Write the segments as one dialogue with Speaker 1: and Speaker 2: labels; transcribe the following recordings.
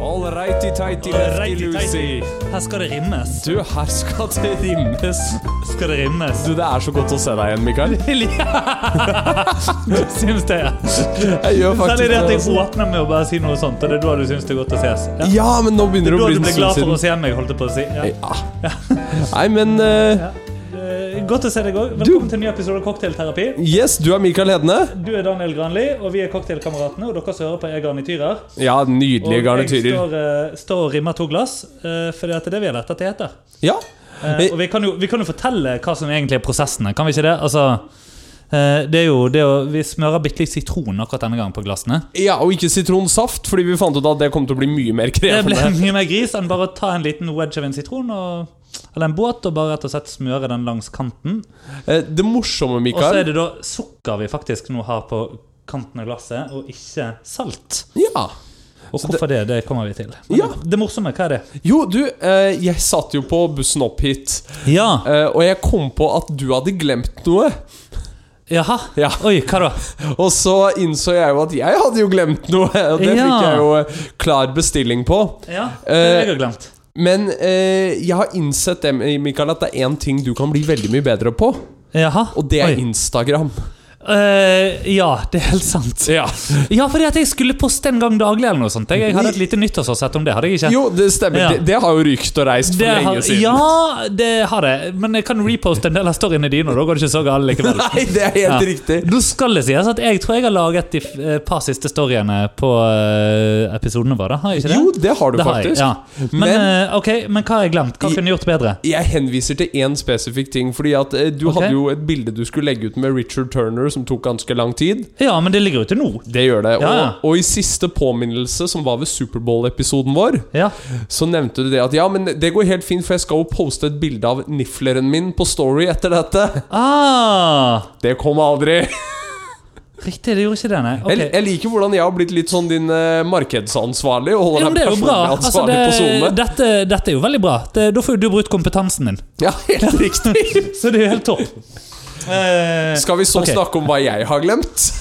Speaker 1: righty-tighty, lefty-loosy.
Speaker 2: Her skal det rimmes.
Speaker 1: Du, her skal det rimmes.
Speaker 2: Skal det rimmes?
Speaker 1: Du, det er så godt å se deg igjen, Mikael.
Speaker 2: Du syns det?
Speaker 1: Jeg gjør
Speaker 2: Særlig
Speaker 1: faktisk
Speaker 2: det at
Speaker 1: det.
Speaker 2: jeg
Speaker 1: altså.
Speaker 2: åpner med å bare si noe sånt, og det er da du syns det er godt å ses. Ja.
Speaker 1: Ja, men nå begynner det
Speaker 2: Det er
Speaker 1: å
Speaker 2: da
Speaker 1: bli
Speaker 2: du
Speaker 1: en
Speaker 2: ble
Speaker 1: stund
Speaker 2: glad for
Speaker 1: siden.
Speaker 2: å se meg, holdt jeg på å si. Ja.
Speaker 1: Ja. Nei, men eh,
Speaker 2: Eh, Godt å se deg òg. Velkommen til en ny episode av Cocktailterapi.
Speaker 1: Yes, du er Mikael Hedne.
Speaker 2: Du er Daniel Granli, og vi er Cocktailkameratene. Og dere som hører på, er garnityrer.
Speaker 1: Ja,
Speaker 2: Og
Speaker 1: nydelige
Speaker 2: jeg
Speaker 1: garnityrer.
Speaker 2: står, eh, står og rimmer to glass, uh, for det er det vi har lært at det heter.
Speaker 1: Ja.
Speaker 2: Eh, og vi kan, jo, vi kan jo fortelle hva som egentlig er prosessene. Kan vi ikke det? Altså, eh, det er jo det å, Vi smører bitte litt sitron akkurat denne gangen på glassene.
Speaker 1: ja, og ikke sitronsaft, fordi vi fant ut at det kom til å bli mye mer
Speaker 2: Det ble
Speaker 1: krevende.
Speaker 2: mye mer gris enn bare å ta en liten wedge av en sitron og, eller en båt og bare rett og slett smøre den langs kanten.
Speaker 1: Eh, Det morsomme,
Speaker 2: Og så
Speaker 1: Mikael
Speaker 2: er det da sukker vi faktisk nå har på kanten av glasset, og ikke salt.
Speaker 1: Ja.
Speaker 2: Og hvorfor det, det kommer vi til. Men
Speaker 1: Ja.
Speaker 2: Det morsomme, hva er det?
Speaker 1: Jo, du, eh, jeg satt jo på bussen opp hit,
Speaker 2: Ja.
Speaker 1: eh, og jeg kom på at du hadde glemt noe.
Speaker 2: Jaha.
Speaker 1: Ja.
Speaker 2: Oi, hva da?
Speaker 1: Og så innså jeg jo at jeg hadde jo glemt noe, og det
Speaker 2: Ja.
Speaker 1: fikk jeg jo eh, klar bestilling på.
Speaker 2: Ja, det er det jeg har glemt.
Speaker 1: Men eh, jeg har innsett det, eh, Mikael, at det er én ting du kan bli veldig mye bedre på,
Speaker 2: Jaha.
Speaker 1: og det er
Speaker 2: Oi.
Speaker 1: Instagram.
Speaker 2: Eh, ja, det er helt sant.
Speaker 1: Ja.
Speaker 2: Ja, fordi at jeg skulle poste en gang daglig eller noe sånt. Jeg, jeg hadde et lite nyttårsårsett om det, hadde jeg ikke?
Speaker 1: Jo, det stemmer.
Speaker 2: Ja.
Speaker 1: Det, det har jo rykt og reist for
Speaker 2: det har,
Speaker 1: lenge siden.
Speaker 2: ja, det har jeg. Men jeg kan reposte en del av storyene dine, og da går det ikke så galt likevel.
Speaker 1: Nei, det er helt
Speaker 2: Ja.
Speaker 1: riktig.
Speaker 2: Da skal det sies at jeg tror jeg har laget de f- eh, par siste storyene på eh, episodene våre. Har jeg ikke det?
Speaker 1: Jo, det har du
Speaker 2: det har jeg,
Speaker 1: faktisk.
Speaker 2: ja. men,
Speaker 1: Men-
Speaker 2: eh, ok, men hva har jeg glemt? Hva kunne jeg gjort bedre?
Speaker 1: Jeg henviser til én spesifikk ting. Fordi at eh, Du
Speaker 2: Ok.
Speaker 1: hadde jo et bilde du skulle legge ut med Richard Turner, som tok ganske lang tid.
Speaker 2: Ja, men det ligger jo ute nå.
Speaker 1: Det gjør det.
Speaker 2: Ja, ja.
Speaker 1: Og, og i siste påminnelse, som var ved Superbowl-episoden vår,
Speaker 2: Ja.
Speaker 1: så nevnte du det at ja, men det går helt fint, for jeg skal jo poste et bilde av nifleren min på Story etter dette.
Speaker 2: Ah,
Speaker 1: Det kom aldri.
Speaker 2: riktig, det gjorde ikke det, nei.
Speaker 1: Jeg,
Speaker 2: Ok.
Speaker 1: jeg liker hvordan jeg har blitt litt sånn din eh, markedsansvarlig. Og
Speaker 2: Ja,
Speaker 1: holder
Speaker 2: men det
Speaker 1: deg
Speaker 2: er jo bra.
Speaker 1: personlig
Speaker 2: Altså,
Speaker 1: ansvarlig
Speaker 2: det,
Speaker 1: på SoMe.
Speaker 2: dette, dette er jo veldig bra. Det, da får jo du brukt kompetansen din.
Speaker 1: Ja, helt riktig.
Speaker 2: Så det er jo helt topp. Eh,
Speaker 1: Skal vi så
Speaker 2: Ok.
Speaker 1: snakke om hva jeg har glemt?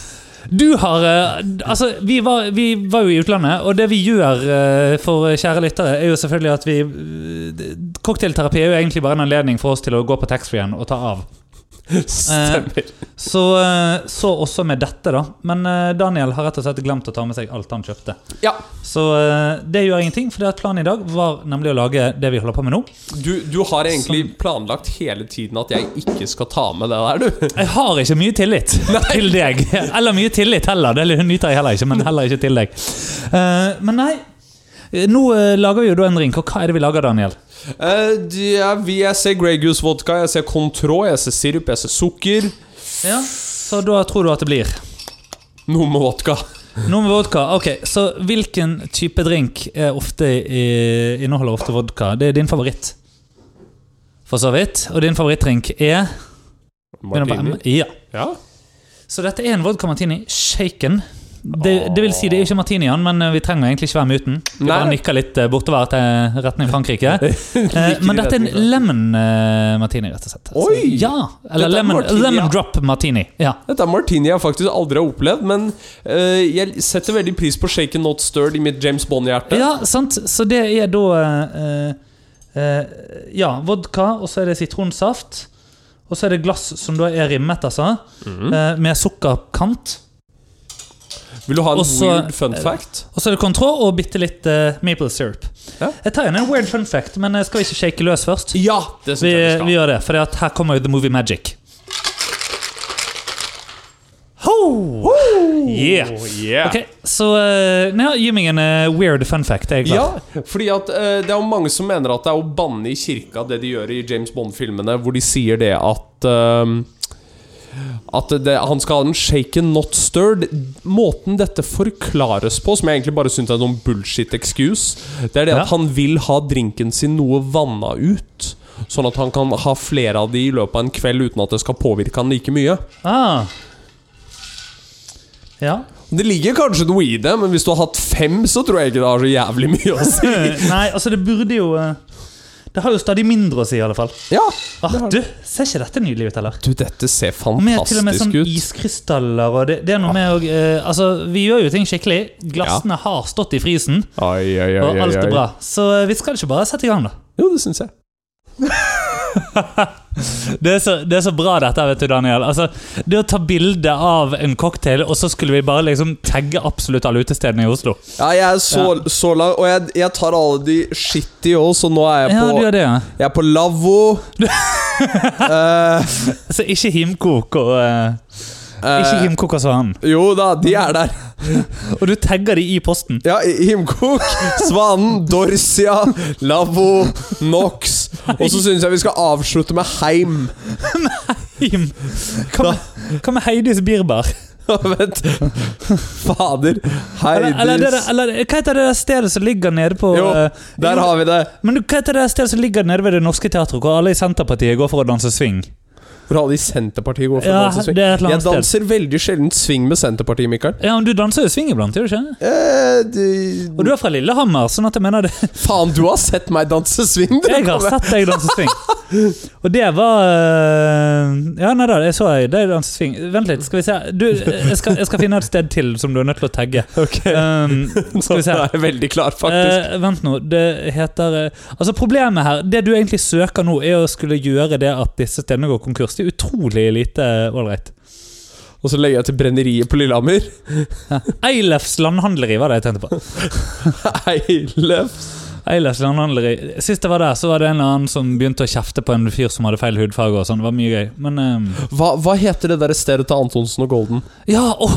Speaker 2: du har eh, Altså, vi var, vi var jo i utlandet, og det vi gjør eh, for kjære lyttere, er jo selvfølgelig at vi eh, Cocktailterapi er jo egentlig bare en anledning for oss til å gå på taxfree-en og ta av.
Speaker 1: Eh. Stemmer.
Speaker 2: Så, eh, så også med dette, da. Men eh, Daniel har rett og slett glemt å ta med seg alt han kjøpte.
Speaker 1: Ja,
Speaker 2: Så eh, det gjør ingenting, for det at planen i dag var nemlig å lage det vi holder på med nå.
Speaker 1: du, du har egentlig planlagt hele tiden at jeg ikke skal ta med det der, du.
Speaker 2: Jeg har ikke mye tillit til deg. Eller mye tillit heller. Det nyter jeg heller ikke, men heller ikke til deg. Eh, men nei. Eh, Nå eh, lager vi jo da en drink, og hva er det vi lager, Daniel?
Speaker 1: Eh, de- ja, vi- jeg ser Grey Goose vodka, jeg ser Control, jeg ser sirup, jeg ser sukker.
Speaker 2: Ja, Så da tror du at det blir
Speaker 1: Noe med vodka.
Speaker 2: noe med vodka. Ok, Så hvilken type drink er ofte i, inneholder ofte vodka? Det er din favoritt, for så vidt. Og din favorittdrink er begynner på
Speaker 1: Martini.
Speaker 2: M. Ja.
Speaker 1: Ja.
Speaker 2: Så dette er en vodka martini shaken. Det, det vil si, det er jo ikke martinian, men eh, vi trenger egentlig ikke være med uten. Vi bare
Speaker 1: Nei.
Speaker 2: nikker litt eh, bortover til retning Frankrike. Eh,
Speaker 1: Liker
Speaker 2: Men
Speaker 1: de
Speaker 2: dette er
Speaker 1: retning,
Speaker 2: en lemon eh, martini, rett og slett. Så-
Speaker 1: Oi!
Speaker 2: Ja,
Speaker 1: Dette
Speaker 2: Eller
Speaker 1: er
Speaker 2: lemon,
Speaker 1: martini, ja.
Speaker 2: lemon drop martini. Ja.
Speaker 1: Dette er martini jeg faktisk aldri har opplevd, men eh, jeg setter veldig pris på shaken not stirred i mitt James Bond-hjerte.
Speaker 2: ja, sant. Så det er da eh, eh, Ja, vodka, og så er det sitronsaft. Og så er det glass som da er rimmet, altså.
Speaker 1: Mhm.
Speaker 2: eh, Med sukkerkant.
Speaker 1: Vil du ha en
Speaker 2: Og så-
Speaker 1: weird fun fact?
Speaker 2: Og så er det control og bitte litt eh, maple syrup.
Speaker 1: Ja.
Speaker 2: Jeg tar igjen en weird fun fact, men eh, skal vi ikke shake løs først?
Speaker 1: Ja, det syns
Speaker 2: Vi, eh,
Speaker 1: jeg
Speaker 2: vi
Speaker 1: vi skal.
Speaker 2: gjør det, for at her kommer jo The Movie Magic. Ho! Yeah.
Speaker 1: Yeah.
Speaker 2: Ok, så eh, nei, ja, Gi meg en eh, weird fun fact. Jeg er glad.
Speaker 1: Ja, fordi at eh, det er jo mange som mener at det er å banne i kirka, det de gjør i James Bond-filmene, hvor de sier det at eh, At det, han skal ha den shaken, not stirred. Måten dette forklares på, som jeg egentlig bare syns er noen bullshit excuse, det er det
Speaker 2: Ja.
Speaker 1: at han vil ha drinken sin noe vanna ut. Sånn at han kan ha flere av de i løpet av en kveld uten at det skal påvirke han like mye.
Speaker 2: Ah. Ja.
Speaker 1: Det ligger kanskje noe i det, men hvis du har hatt fem, så tror jeg ikke det har så jævlig mye å si.
Speaker 2: Nei, altså, det burde jo eh, Det har jo stadig mindre å si, i alle fall.
Speaker 1: Ja!
Speaker 2: Ah, du, Ser ikke dette nydelig ut, eller?
Speaker 1: Du, dette ser
Speaker 2: Med til og med
Speaker 1: fantastisk
Speaker 2: sånn
Speaker 1: ut.
Speaker 2: iskrystaller og det, det er noe med å eh, Altså, vi gjør jo ting skikkelig. Glassene har stått i frysen,
Speaker 1: Oi, oi, oi,
Speaker 2: og
Speaker 1: oi,
Speaker 2: alt er
Speaker 1: oi.
Speaker 2: bra. Så eh, vi skal ikke bare sette i gang, da.
Speaker 1: Jo, det syns jeg.
Speaker 2: Det er, så, det er så bra dette, vet du, Daniel. Altså, det å ta bilde av en cocktail, og så skulle vi bare liksom tagge absolutt alle utestedene i Oslo.
Speaker 1: Ja, jeg er så, så lang, og jeg, jeg tar alle de shitty òg, så nå er jeg
Speaker 2: Ja, du
Speaker 1: på,
Speaker 2: gjør det, ja.
Speaker 1: jeg er på lavvo. Eh,
Speaker 2: Så ikke himkok og eh, Ikke
Speaker 1: eh,
Speaker 2: himkok og svanen.
Speaker 1: jo da, de er der.
Speaker 2: Og du tagger de i posten.
Speaker 1: Ja, Himkok, Svanen, Dorsia, Lavvo, Nox. Og så syns jeg vi skal avslutte med Heim.
Speaker 2: Him. Hva med, hva med Heidis Birbar?
Speaker 1: Vent. Fader.
Speaker 2: Eller, eller, det der-
Speaker 1: Heidis.
Speaker 2: eller hva heter det der stedet som ligger nede på
Speaker 1: Jo,
Speaker 2: eh,
Speaker 1: Der har vi det.
Speaker 2: Men du, hva heter det der stedet som ligger nede ved Det Norske Teatret, hvor alle i Senterpartiet går for å danse swing?
Speaker 1: Hvor alle i Senterpartiet går for å
Speaker 2: Ja,
Speaker 1: danse
Speaker 2: det
Speaker 1: swing.
Speaker 2: er et eller
Speaker 1: Jeg
Speaker 2: annet sted.
Speaker 1: danser veldig sjelden swing med Senterpartiet, Mikael.
Speaker 2: Ja, men Du danser jo swing iblant, gjør du ikke?
Speaker 1: Eh,
Speaker 2: Og
Speaker 1: du,
Speaker 2: du er fra Lillehammer, sånn at jeg mener det
Speaker 1: faen, du har sett meg danse swing! du.
Speaker 2: Jeg har sett deg danse swing. Og det var eh, Ja, nei da, jeg så deg deg danse swing. Vent litt, skal vi se. Du, jeg skal, jeg skal finne et sted til som du er nødt til å tagge. Um, skal vi
Speaker 1: Nå
Speaker 2: se.
Speaker 1: er jeg veldig klar, faktisk.
Speaker 2: Eh, vent nå, det heter eh, Altså Problemet her Det du egentlig søker nå, er å skulle gjøre det at disse stedene går konkurs. Det er utrolig lite eh, ålreit.
Speaker 1: Og så legger jeg til Brenneriet på Lillehammer.
Speaker 2: Eilefs landhandleri var det jeg tenkte på.
Speaker 1: Eilef.
Speaker 2: Eilefs landhandleri Sist jeg var der, så var det en eller annen som begynte å kjefte på en fyr som hadde feil hudfarge. og sånn Det var mye gøy. Men eh,
Speaker 1: Hva, hva heter det der stedet til Antonsen og Golden?
Speaker 2: ja, åh,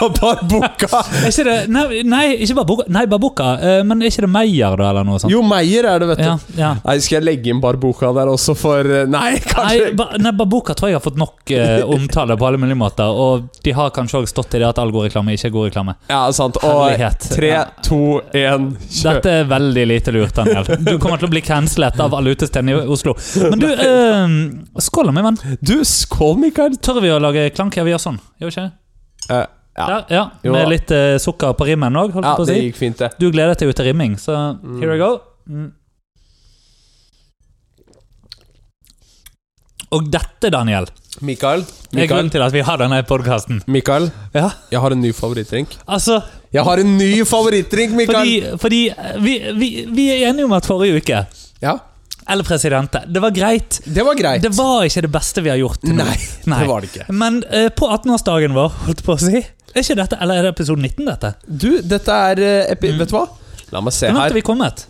Speaker 1: Barboka!
Speaker 2: er ikke det Nei, nei ikke Babuka, nei, Babuka eh, men er ikke det Meyer, da, eller noe sånt?
Speaker 1: Jo, Meyer er det, vet du.
Speaker 2: Ja, ja.
Speaker 1: Nei, Skal jeg legge inn Barboka der også for eh, Nei,
Speaker 2: Nei,
Speaker 1: kanskje
Speaker 2: ba, nei, Babuka tror jeg har fått nok eh, omtale på alle mulige måter. Og de har kanskje også stått i det at all god reklame ikke er god reklame.
Speaker 1: Ja, sant. Og
Speaker 2: Herlighet.
Speaker 1: tre,
Speaker 2: Ja.
Speaker 1: to, én, kjør.
Speaker 2: Dette er veldig lite lurt, Daniel. Du kommer til å bli cancelet av alle utestedene i Oslo. Men du, eh, skål da, min venn.
Speaker 1: Du, skål, Mikael.
Speaker 2: Tør vi å lage klank? Ja, vi gjør sånn. Gjør vi ikke?
Speaker 1: Eh, ja.
Speaker 2: Ja, ja.
Speaker 1: Jo da.
Speaker 2: Med litt eh, sukker på rimmen òg, holdt
Speaker 1: ja,
Speaker 2: jeg på å
Speaker 1: det
Speaker 2: si.
Speaker 1: gikk fint, det.
Speaker 2: Du gleder deg jo til rimming, så here I go. Mm. Og dette, Daniel,
Speaker 1: Mikael,
Speaker 2: er grunnen
Speaker 1: Mikael,
Speaker 2: til at vi har denne podkasten.
Speaker 1: Mikael
Speaker 2: Ja.
Speaker 1: jeg har en ny favorittdrink.
Speaker 2: Altså,
Speaker 1: Jeg har en ny favorittdrink, Mikael!
Speaker 2: Fordi, fordi eh, vi, vi, vi er enige om at forrige uke
Speaker 1: Ja,
Speaker 2: eller presidente, det var greit.
Speaker 1: det var greit.
Speaker 2: Det var ikke det beste vi har gjort. til nå.
Speaker 1: Nei,
Speaker 2: Nei.
Speaker 1: det var det ikke.
Speaker 2: Men eh, på 18-årsdagen vår, holdt på å si Er ikke dette, Eller er det episode 19, dette?
Speaker 1: Du, dette er eh, epi... Vet du hva? La meg se
Speaker 2: Hvor langt
Speaker 1: her.
Speaker 2: har vi kommet?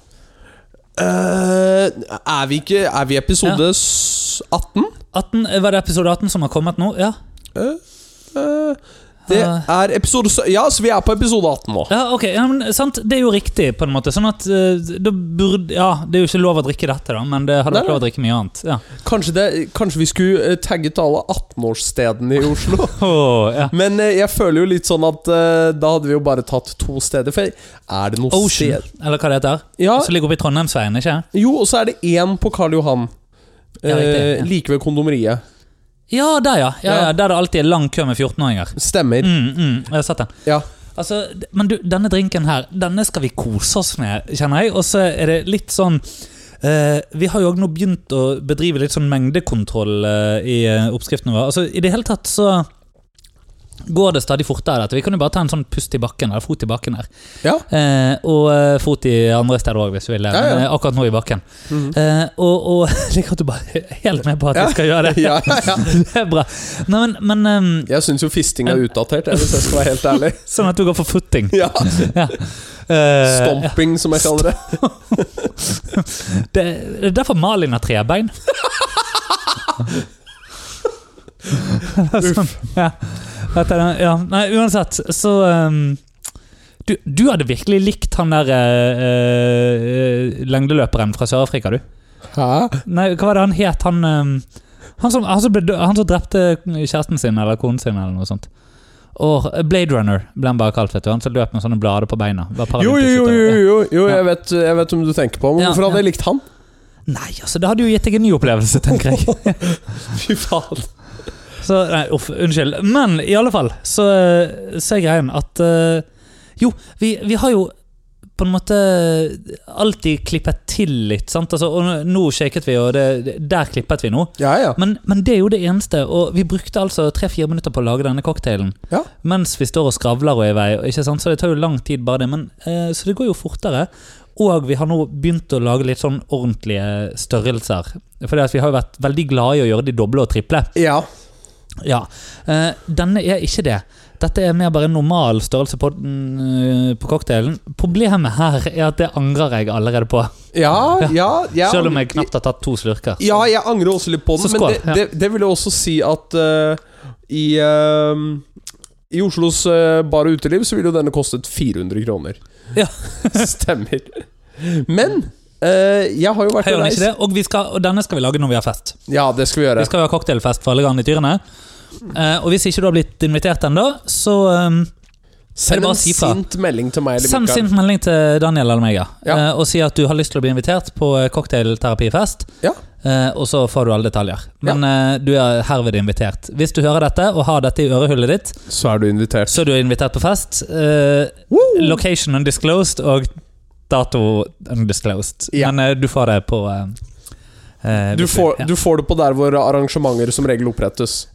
Speaker 1: Eh, er vi ikke Er vi i episode s- 18?
Speaker 2: 18, eh, var det episode 18 som har kommet nå? Ja,
Speaker 1: Eh, det
Speaker 2: Ah.
Speaker 1: er episode sø- Ja, så vi er på episode 18 nå.
Speaker 2: ja ok. Ja, men, sant? Det er jo riktig, på en måte. Sånn at eh, da burde Ja, det er jo ikke lov å drikke dette, da, men det hadde
Speaker 1: Nei,
Speaker 2: vært lov å drikke mye annet. Ja.
Speaker 1: Kanskje, det, kanskje vi skulle eh, tagget alle 18-årsstedene i Oslo?
Speaker 2: Åh, ja.
Speaker 1: Men eh, jeg føler jo litt sånn at eh, da hadde vi jo bare tatt to steder. For er det noe
Speaker 2: Ocean, Altså-
Speaker 1: sted
Speaker 2: eller hva det heter.
Speaker 1: Ja,
Speaker 2: Som ligger oppe i Trondheimsveien, ikke
Speaker 1: Jo, og så er det én på Karl Johan.
Speaker 2: Ja, riktig,
Speaker 1: eh,
Speaker 2: ja.
Speaker 1: Like ved kondomeriet.
Speaker 2: Ja, der, ja. ja,
Speaker 1: Ja.
Speaker 2: ja der det alltid er lang kø med 14-åringer.
Speaker 1: Stemmer.
Speaker 2: Mm, mm, jeg har sett den.
Speaker 1: Ja.
Speaker 2: Altså, d- men du, denne drinken her, denne skal vi kose oss med, kjenner jeg. Og så er det litt sånn eh, Vi har jo òg nå begynt å bedrive litt sånn mengdekontroll eh, i eh, oppskriften vår. Altså, I det hele tatt så går det stadig fortere dette. Vi kan jo bare ta en sånn pust i bakken, eller fot i bakken her.
Speaker 1: ja.
Speaker 2: Eh, og eh, fot i andre steder òg, hvis du vil.
Speaker 1: Ja, ja.
Speaker 2: Men, eh, akkurat nå i bakken.
Speaker 1: Mhm.
Speaker 2: Eh, og og jeg liker at du bare er helt med på at vi skal gjøre det.
Speaker 1: ja, ja, ja.
Speaker 2: Det er bra. Nei, men, men ehm,
Speaker 1: Jeg syns jo fisting er utdatert, jeg, hvis jeg skal være helt ærlig.
Speaker 2: Sånn at du går for footing.
Speaker 1: Ja.
Speaker 2: Eh,
Speaker 1: Stomping, som jeg kaller det.
Speaker 2: Det, det er derfor Malin har trebein. sånn, ja. At den- ja. Nei, uansett, så um, du, du hadde virkelig likt han der eh, eh, lengdeløperen fra Sør-Afrika, du.
Speaker 1: Hæ?
Speaker 2: Nei, hva var det han het? Han, um, han, som, han, som ble, dø- han som drepte kjæresten sin eller konen sin eller noe sånt. Og Blade Runner ble han bare kalt, vet du. Han som løp med sånne blader på beina. Var
Speaker 1: Jo,
Speaker 2: paralympisk
Speaker 1: jo, jo, jo,
Speaker 2: utøver. Ja.
Speaker 1: jo, jo
Speaker 2: Ja.
Speaker 1: jeg, vet, jeg vet hvem du tenker på. Men
Speaker 2: Ja,
Speaker 1: hvorfor hadde
Speaker 2: ja.
Speaker 1: jeg likt han?
Speaker 2: Nei, altså, det hadde jo gitt deg en ny opplevelse, tenker jeg.
Speaker 1: Fy faen.
Speaker 2: Så, nei, uff, unnskyld. Men eh, i alle fall, så, så er greien at eh, Jo, vi, vi har jo på en måte alltid klippet til litt. sant? Altså, og nå- nå shaket vi, og det, det- der klippet vi nå.
Speaker 3: Ja, ja.
Speaker 2: Men, men det er jo det eneste. Og vi brukte altså tre-fire minutter på å lage denne cocktailen.
Speaker 3: Ja.
Speaker 2: Mens vi står og skravler og er i vei. Ikke sant? Så det tar jo lang tid, bare det. Men, eh, så det går jo fortere. Og vi har nå begynt å lage litt sånn ordentlige størrelser. Fordi at vi har jo vært veldig glade i å gjøre de doble og triple.
Speaker 3: ja.
Speaker 2: Ja. Eh, denne er ikke det. Dette er mer bare en normal størrelse på, den, eh, på cocktailen. Problemet her er at det angrer jeg allerede på.
Speaker 3: Ja, ja, ja.
Speaker 2: Selv om jeg knapt har tatt to slurker. så-
Speaker 1: Ja, jeg angrer også litt på den,
Speaker 2: Så
Speaker 1: men
Speaker 2: skål,
Speaker 1: det, det, det vil jo også si at eh, i eh, I Oslos eh, bar og uteliv så ville jo denne kostet 400 kroner.
Speaker 2: Ja.
Speaker 1: Stemmer. Men eh, jeg har jo vært og
Speaker 2: Hei, gjør den
Speaker 1: reist
Speaker 2: ikke det? Og, vi skal, og denne skal vi lage når vi har fest.
Speaker 1: Ja, det skal vi
Speaker 2: Vi
Speaker 1: gjøre.
Speaker 2: skal jo ha cocktailfest for alle garnityrene. Eh, og hvis ikke du har blitt invitert ennå, så um,
Speaker 1: Send
Speaker 2: bare
Speaker 1: en
Speaker 2: å si fra.
Speaker 1: sint melding til meg eller
Speaker 2: send
Speaker 1: Mikael.
Speaker 2: sint melding til Daniel eller meg ja.
Speaker 1: Ja.
Speaker 2: Eh, og si at du har lyst til å bli invitert på eh, cocktailterapifest.
Speaker 1: Ja.
Speaker 2: Eh, og så får du alle detaljer. Men eh, du er herved invitert. Hvis du hører dette og har dette i ørehullet ditt,
Speaker 1: Så er du invitert.
Speaker 2: så er du invitert på fest. Eh, location undisclosed og dato undisclosed.
Speaker 1: Ja.
Speaker 2: Men eh, du får det på eh, eh,
Speaker 1: Du
Speaker 2: hvis
Speaker 1: får,
Speaker 2: ja.
Speaker 1: du får det på der hvor arrangementer som regel opprettes.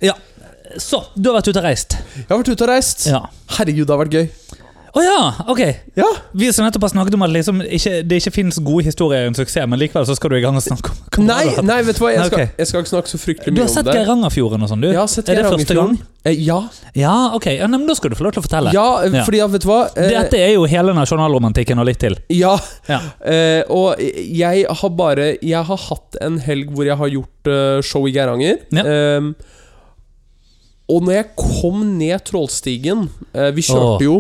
Speaker 2: Så, du har vært ute og reist.
Speaker 1: Jeg har vært ute og reist.
Speaker 2: Ja.
Speaker 1: Herregud, det har vært gøy.
Speaker 2: Å ja, ok.
Speaker 1: Ja.
Speaker 2: Vi som nettopp har snakket om at liksom ikke, det ikke finnes gode historier i en suksess, men likevel så skal du i gang og snakke om hva
Speaker 1: Nei,
Speaker 2: du har hatt.
Speaker 1: nei, vet du hva, jeg
Speaker 2: Nei,
Speaker 1: skal,
Speaker 2: ok.
Speaker 1: jeg skal ikke snakke så fryktelig
Speaker 2: Du
Speaker 1: mye
Speaker 2: har
Speaker 1: om
Speaker 2: sett
Speaker 1: det.
Speaker 2: Geirangerfjorden og sånn, du?
Speaker 1: Jeg har sett
Speaker 2: er det første gang?
Speaker 1: Geirangerfjorden. Eh, ja.
Speaker 2: Ja, ok. Ja, nei, men da skal du få lov til å fortelle.
Speaker 1: ja, eh, fordi ja, vet du hva eh,
Speaker 2: Dette er jo hele nasjonalromantikken og litt til.
Speaker 1: Ja.
Speaker 2: Ja.
Speaker 1: Eh, og jeg har bare Jeg har hatt en helg hvor jeg har gjort eh, show i Geiranger.
Speaker 2: Ja.
Speaker 1: Ehm, og når jeg kom ned Trollstigen eh, Vi
Speaker 2: Åh.
Speaker 1: kjørte jo.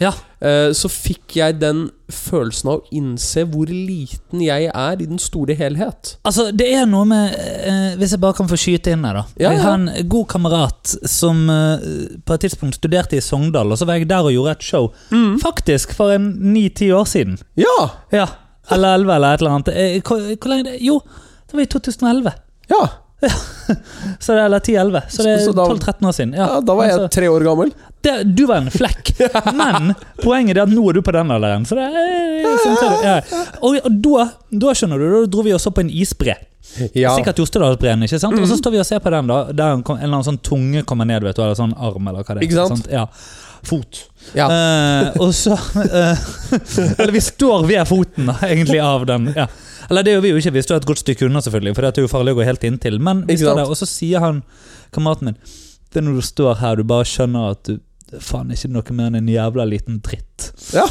Speaker 2: Ja.
Speaker 1: eh, så fikk jeg den følelsen av å innse hvor liten jeg er i den store helhet.
Speaker 2: Altså, det er noe med eh, Hvis jeg bare kan få skyte inn her, da.
Speaker 1: Ja,
Speaker 2: Jeg
Speaker 1: ja.
Speaker 2: har en god kamerat som eh, på et tidspunkt studerte i Sogndal, og så var jeg der og gjorde et show. Faktisk for en ni-ti år siden.
Speaker 1: Mm. Ja!
Speaker 2: Ja, eller 11 eller et eller annet. Eh, Hvor, hvor lenge det? Jo, det var i 2011.
Speaker 1: Ja,
Speaker 2: Så det, eller 10-11. Så det er
Speaker 1: Så da-
Speaker 2: 12-13 år siden. Ja,
Speaker 1: ja Da var jeg
Speaker 2: altså,
Speaker 1: tre år gammel.
Speaker 2: det, Du var en flekk, men poenget er at nå er du på den alderen. Så det er, sånn ser det- ja. Og, og da, da skjønner du, da dro vi og så på en isbre.
Speaker 1: Ja. Mhm.
Speaker 2: Sikkert Jostedalsbreen. ikke sant? Og så står vi og ser på den, da, der en, kom, en eller annen sånn tunge kommer ned, vet du, eller sånn arm, eller hva det er.
Speaker 1: Ikke sant?
Speaker 2: Ja. Fot.
Speaker 1: Ja.
Speaker 2: Eh, og så eh, Eller vi står ved foten, da, egentlig, av den. Ja. Eller det gjør vi jo ikke, vi står et godt stykke unna, selvfølgelig, for det er jo farlig å gå helt inntil. Men vi
Speaker 1: Ikke
Speaker 2: står
Speaker 1: sant?
Speaker 2: der, og så sier han kameraten min Det er når du står her, du bare skjønner at du Faen, ikke noe mer enn en jævla liten dritt.
Speaker 1: ja.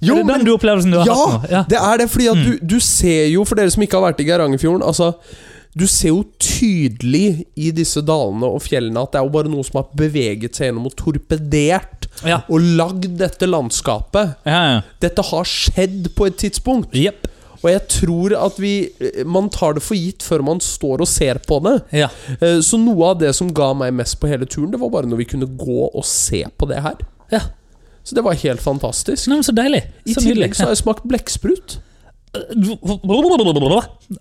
Speaker 1: Jo,
Speaker 2: er det
Speaker 1: men
Speaker 2: den du opplevelsen du har
Speaker 1: Ja,
Speaker 2: hatt nå? Ja. Mm.
Speaker 1: Det er det, fordi at du, du ser jo, for dere som ikke har vært i Geirangerfjorden altså, Du ser jo tydelig i disse dalene og fjellene at det er jo bare noe som har beveget seg gjennom og torpedert
Speaker 2: Ja.
Speaker 1: og lagd dette landskapet.
Speaker 2: Ja, ja.
Speaker 1: Dette har skjedd på et tidspunkt,
Speaker 2: Jepp.
Speaker 1: og jeg tror at vi eh, man tar det for gitt før man står og ser på det.
Speaker 2: Ja.
Speaker 1: Eh, Så noe av det som ga meg mest på hele turen, det var bare når vi kunne gå og se på det her.
Speaker 2: ja.
Speaker 1: Så det var helt fantastisk.
Speaker 2: Nei, men så deilig.
Speaker 1: I
Speaker 2: Så
Speaker 1: tillegg
Speaker 2: nydelig.
Speaker 1: så har jeg smakt blekksprut.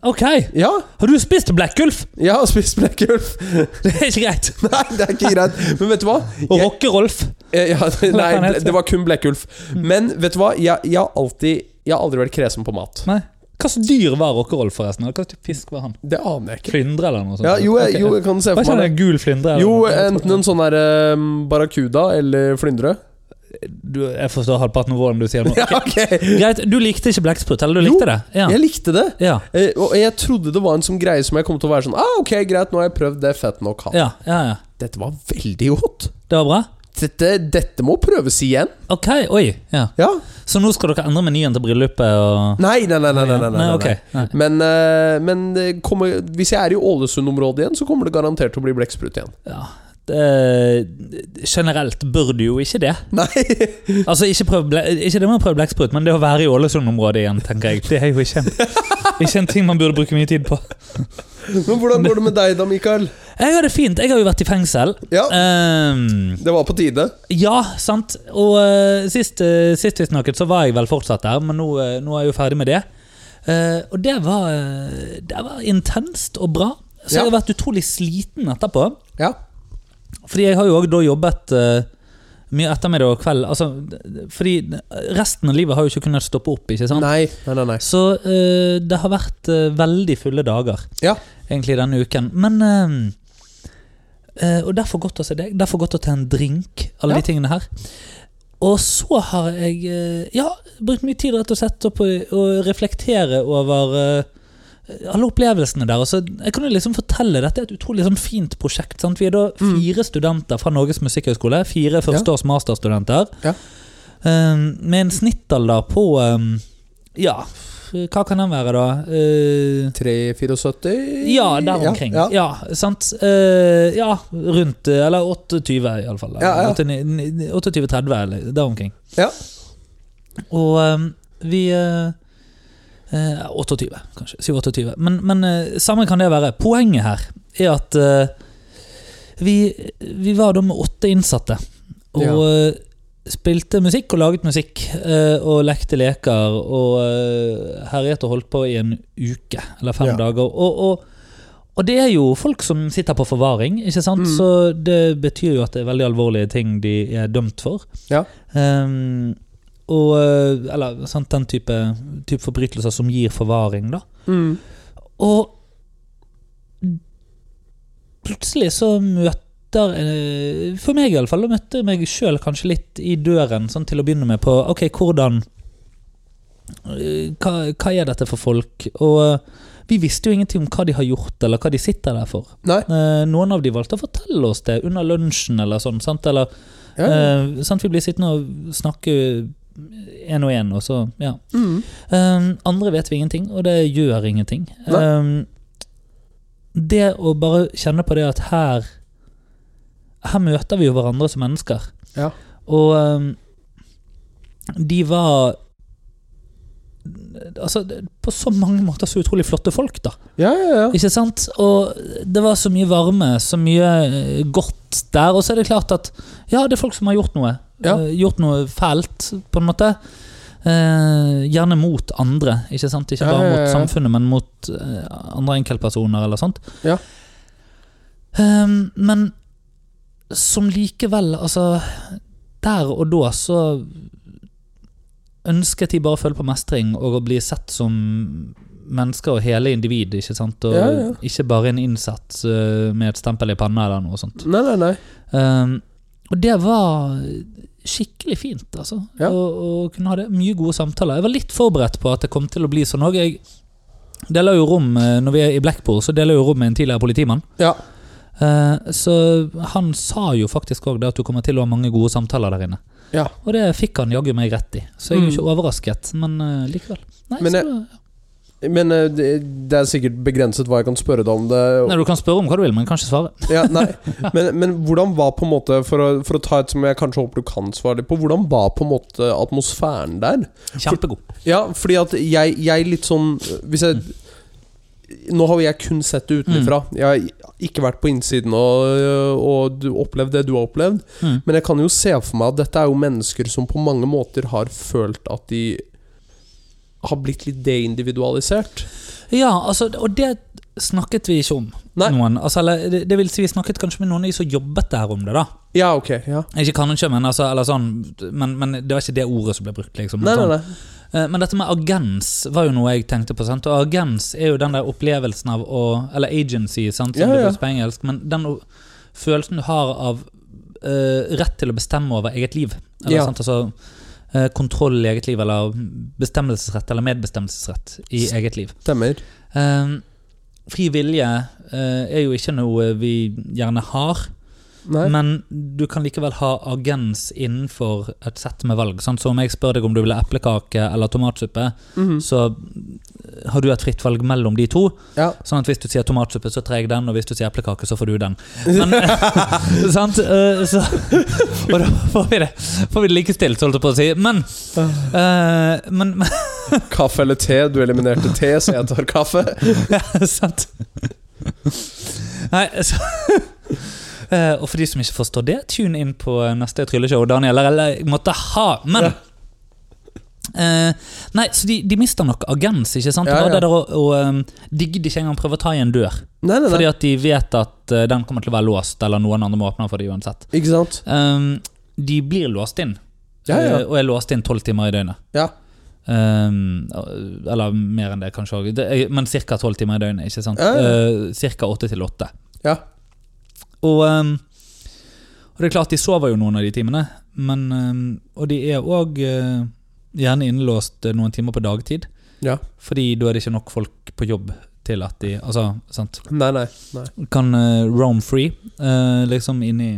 Speaker 2: Ok,
Speaker 1: Ja,
Speaker 2: har du spist blekkulf?
Speaker 1: jeg har spist blekkulf.
Speaker 2: Det er ikke greit.
Speaker 1: Nei, det er ikke greit. Men vet du hva?
Speaker 2: Og
Speaker 1: Jeg,
Speaker 2: Rocke-Rolf.
Speaker 1: eh, ja, nei,
Speaker 2: Hva han
Speaker 1: det-
Speaker 2: heter? Mm.
Speaker 1: det var kun blekkulf. Men vet du hva? Jeg, jeg, har alltid, jeg har aldri vært kresen på mat.
Speaker 2: Nei. Hva slags dyr var Rocke-Rolf, forresten? Eller Hva slags fisk var han?
Speaker 1: Det aner jeg ikke.
Speaker 2: Flyndre, eller noe sånt?
Speaker 1: Ja, jo, jeg,
Speaker 2: Ok,
Speaker 1: jo,
Speaker 2: ja.
Speaker 1: jeg kan se
Speaker 2: Var
Speaker 1: for
Speaker 2: ikke
Speaker 1: meg
Speaker 2: det
Speaker 1: det.
Speaker 2: en gul flyndre? eller
Speaker 1: Jo,
Speaker 2: noe?
Speaker 1: enten en sånn her um, barrakuda eller flyndre.
Speaker 2: du, Jeg forstår halvparten av hvordan du sier nå.
Speaker 1: Ja, ok.
Speaker 2: Greit, du likte ikke blekksprut, eller du
Speaker 1: Jo,
Speaker 2: likte det? Ja.
Speaker 1: Jeg likte det.
Speaker 2: Ja.
Speaker 1: Eh, Og jeg trodde det var en sånn greie som jeg kom til å være sånn ah, Ok, greit, nå har jeg prøvd det, fett nok. Ha. det».
Speaker 2: ja, ja, ja.
Speaker 1: Dette var veldig godt.
Speaker 2: Det var bra?
Speaker 1: Dette, dette må prøves igjen.
Speaker 2: Ok, oi. Ja.
Speaker 1: Ja.
Speaker 2: Så nå skal dere endre menyen til bryllupet og
Speaker 1: Nei, nei, nei. nei, nei, nei, nei, nei.
Speaker 2: ok. Nei.
Speaker 1: Men, eh, men det kommer, hvis jeg er i Ålesund-området igjen, så kommer det garantert til å bli blekksprut igjen.
Speaker 2: Ja. Eh, generelt bør du jo ikke det.
Speaker 1: Nei,
Speaker 2: Altså, ikke, prøv ble, ikke det med å prøve blekksprut, men det å være i Ålesund-området igjen, tenker jeg. Det er jo ikke en, ikke en ting man burde bruke mye tid på.
Speaker 1: Men hvordan går det med deg da, Mikael?
Speaker 2: Jeg har det fint. Jeg har jo vært i fengsel.
Speaker 1: Ja,
Speaker 2: Ehm,
Speaker 1: det var på tide.
Speaker 2: ja, sant. Og eh, sist, eh, sist vi snakket, så var jeg vel fortsatt der, men nå, eh, nå er jeg jo ferdig med det. Eh, og det var, eh, det var intenst og bra. Så
Speaker 1: Ja.
Speaker 2: jeg har vært utrolig sliten etterpå.
Speaker 1: Ja.
Speaker 2: Fordi jeg har jo òg da jobbet eh, mye ettermiddag og kveld. Altså, fordi resten av livet har jo ikke kunnet stoppe opp. ikke sant?
Speaker 1: Nei, nei, nei. nei.
Speaker 2: Så eh, det har vært eh, veldig fulle dager
Speaker 1: Ja.
Speaker 2: egentlig denne uken. Men eh, eh, Og derfor godt å se deg. Derfor godt å ta en drink, alle
Speaker 3: Ja.
Speaker 2: de tingene her. Og så har jeg eh, ja, brukt mye tid rett og slett opp å, å reflektere over eh, alle opplevelsene der. Og så, jeg kan jo liksom fortelle Dette er et utrolig sånn fint prosjekt. Sant? Vi er da
Speaker 1: Mm.
Speaker 2: fire studenter fra Norges Musikkhøgskole. Fire førsteårs masterstudenter.
Speaker 1: Ja.
Speaker 2: Eh, med en snittalder på eh, Ja, hva kan den være, da? Eh,
Speaker 1: 3,74
Speaker 2: ja, der omkring. Ja,
Speaker 1: Ja, ja.
Speaker 2: sant? Eh, ja, rundt eh, Eller 28, iallfall.
Speaker 1: Ja, ja.
Speaker 2: 28-30, eller der omkring.
Speaker 1: Ja.
Speaker 2: Og eh, vi eh, eh, 28, kanskje. Si 28. Men, men eh, samme kan det være. Poenget her er at eh, vi, vi var da med åtte innsatte. Og
Speaker 1: Ja.
Speaker 2: eh, spilte musikk og laget musikk. eh, og lekte leker og eh, herjet og holdt på i en uke eller fem
Speaker 1: Ja.
Speaker 2: dager. Og, og, og det er jo folk som sitter på forvaring, ikke sant?
Speaker 1: Mm.
Speaker 2: så det betyr jo at det er veldig alvorlige ting de er dømt for.
Speaker 1: Ja.
Speaker 2: Ehm, og, eh, eller sant, den type, type forbrytelser som gir forvaring, da.
Speaker 1: Mm.
Speaker 2: Og plutselig så møter eh, For meg iallfall, da møtte jeg meg sjøl kanskje litt i døren sånn til å begynne med på Ok, hvordan eh, hva, hva er dette for folk? Og eh, vi visste jo ingenting om hva de har gjort, eller hva de sitter der for.
Speaker 1: Nei.
Speaker 2: Eh, Noen av de valgte å fortelle oss det under lunsjen eller sånn. sant? Eller
Speaker 1: Ja. ja.
Speaker 2: Eh, sant? Vi blir sittende og snakke én og én, og så ja.
Speaker 1: Mm.
Speaker 2: Eh, andre vet vi ingenting, og det gjør ingenting.
Speaker 1: Nei.
Speaker 2: Eh, det å bare kjenne på det at her Her møter vi jo hverandre som mennesker.
Speaker 1: Ja.
Speaker 2: Og eh, de var Altså, på så mange måter så utrolig flotte folk, da.
Speaker 1: ja, ja, ja.
Speaker 2: Ikke sant? Og det var så mye varme, så mye eh, godt der. Og så er det klart at ja, det er folk som har gjort noe.
Speaker 1: Ja.
Speaker 2: Eh, Gjort noe fælt, på en måte. Eh, gjerne mot andre, ikke sant? Ikke
Speaker 1: Ja,
Speaker 2: bare
Speaker 1: ja, ja,
Speaker 2: mot
Speaker 1: ja.
Speaker 2: samfunnet, men mot eh, andre enkeltpersoner eller sånt.
Speaker 1: Ja.
Speaker 2: Eh, men som likevel, altså Der og da så ønsket de bare å føle på mestring og å bli sett som mennesker og hele individ, ikke sant? Og
Speaker 1: Ja, ja.
Speaker 2: ikke bare en innsatt eh, med et stempel i panna eller noe sånt.
Speaker 1: Nei, nei, nei.
Speaker 2: Um, og det var skikkelig fint, altså.
Speaker 1: Ja.
Speaker 2: Å, å kunne ha det. Mye gode samtaler. Jeg var litt forberedt på at det kom til å bli sånn òg. Jeg deler jo rom eh, når vi er i Blackpool, så deler jeg jo rom med en tidligere politimann.
Speaker 1: Ja.
Speaker 2: Eh, så han sa jo faktisk òg at du kommer til å ha mange gode samtaler der inne.
Speaker 1: Ja.
Speaker 2: Og det fikk han jaggu meg rett i, så jeg er jo
Speaker 1: Mm.
Speaker 2: ikke overrasket, men eh, likevel. Nei,
Speaker 1: Men
Speaker 2: så
Speaker 1: jeg-
Speaker 2: det-
Speaker 1: Men eh, det det er sikkert begrenset hva jeg kan spørre deg om det.
Speaker 2: Nei, Du kan spørre om hva du vil, men kan ikke svare.
Speaker 1: Ja, nei. Men, men hvordan var på en måte for å, for å ta et som jeg kanskje håper du kan svare litt på Hvordan var på en måte atmosfæren der?
Speaker 2: Kjempegod.
Speaker 1: Ja, fordi at jeg, jeg litt sånn Hvis jeg Nå har jo jeg kun sett det utenfra. Jeg har ikke vært på innsiden og, og du- opplevd det du har opplevd.
Speaker 2: Mm.
Speaker 1: Men jeg kan jo se for meg at dette er jo mennesker som på mange måter har følt at de har blitt litt deindividualisert.
Speaker 2: Ja, altså, og det snakket vi ikke om.
Speaker 1: Nei.
Speaker 2: Noen, altså, eller, det, det vil si, vi snakket kanskje med noen av de som jobbet der om det, da.
Speaker 1: Ja, ok. Ja.
Speaker 2: Ikke kanskje, men, altså, eller sånn, men, men det var ikke det ordet som ble brukt. Liksom,
Speaker 1: Nei,
Speaker 2: sånn.
Speaker 1: nei, nei.
Speaker 2: Eh, Men dette med agens var jo noe jeg tenkte på. Sant? Og agens er jo den der opplevelsen av å Eller agency, sant? som
Speaker 1: Ja,
Speaker 2: det
Speaker 1: ja.
Speaker 2: brukes på engelsk. Men den o- følelsen du har av eh, rett til å bestemme over eget liv. Eller,
Speaker 1: Ja.
Speaker 2: sant? Altså, eh, kontroll i eget liv, eller bestemmelsesrett eller medbestemmelsesrett i
Speaker 1: S-
Speaker 2: eget liv.
Speaker 1: Stemmer.
Speaker 2: Eh, fri vilje eh, er jo ikke noe vi gjerne har.
Speaker 1: Nei.
Speaker 2: Men du kan likevel ha agens innenfor et sett med valg. Sant? Så om jeg spør deg om du vil ha eplekake eller tomatsuppe,
Speaker 1: Mhm.
Speaker 2: så eh, har du et fritt valg mellom de to.
Speaker 1: Ja.
Speaker 2: Sånn at hvis du sier tomatsuppe, så tar jeg den, og hvis du sier eplekake, så får du den. Men, sant? Eh, Så, og da får vi det, får vi det likestilt, holdt jeg på å si. Men, eh, men, men
Speaker 1: Kaffe eller te? Du eliminerte te, så jeg tar kaffe.
Speaker 2: Ja, sant. Nei, så Eh, Og for de som ikke forstår det, tune inn på eh, neste trylleshow. Daniel eller jeg måtte ha, men Eh, Nei, så de, de mister nok agens, ikke sant?
Speaker 1: Ja,
Speaker 2: Det var
Speaker 1: ja.
Speaker 2: Det der å, å, em, de gidder ikke engang prøve å ta i en dør,
Speaker 1: Nei, nei,
Speaker 2: fordi
Speaker 1: nei.
Speaker 2: at de vet at eh, den kommer til å være låst, eller noen andre må åpne den for det uansett.
Speaker 1: Ikke sant?
Speaker 2: Em, de blir låst inn.
Speaker 3: Ja, ja.
Speaker 2: Eh, Og er låst inn tolv timer i døgnet.
Speaker 3: Ja.
Speaker 2: Ehm, eller mer enn det, kanskje òg. Men ca. tolv timer i døgnet. ikke sant?
Speaker 3: Ja, ja.
Speaker 2: ca. åtte til åtte.
Speaker 3: Ja.
Speaker 2: Og, ehm, og det er klart, de sover jo noen av de timene, men ehm, Og de er òg eh, gjerne innelåst eh, noen timer på dagtid,
Speaker 1: Ja.
Speaker 2: fordi da er det ikke nok folk på jobb til at de Altså, sant.
Speaker 1: Nei, nei. nei.
Speaker 2: Kan eh, roam free, eh, liksom inni,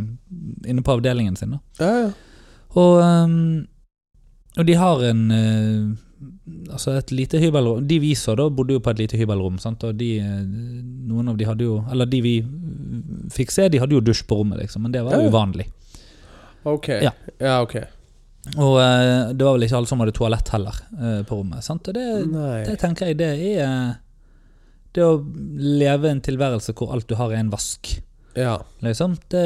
Speaker 2: inne på avdelingen sin, da.
Speaker 3: Ja, ja.
Speaker 2: Og, ehm, og de har en eh, Altså et lite hybelrom De vi så da, bodde jo på et lite hybelrom. Sant? Og de, eh, noen av de hadde jo Eller de vi eh, fikk se, de hadde jo dusj på rommet, liksom, men det var
Speaker 3: Ja, ja.
Speaker 2: uvanlig.
Speaker 1: Ok.
Speaker 2: Ja.
Speaker 1: Ja, ok.
Speaker 2: Og eh, det var vel ikke alle som hadde toalett heller eh, på rommet. Sant? Og det,
Speaker 1: Nei.
Speaker 2: det tenker jeg, det er eh, Det å leve en tilværelse hvor alt du har, er en vask.
Speaker 1: Ja.
Speaker 2: liksom. Det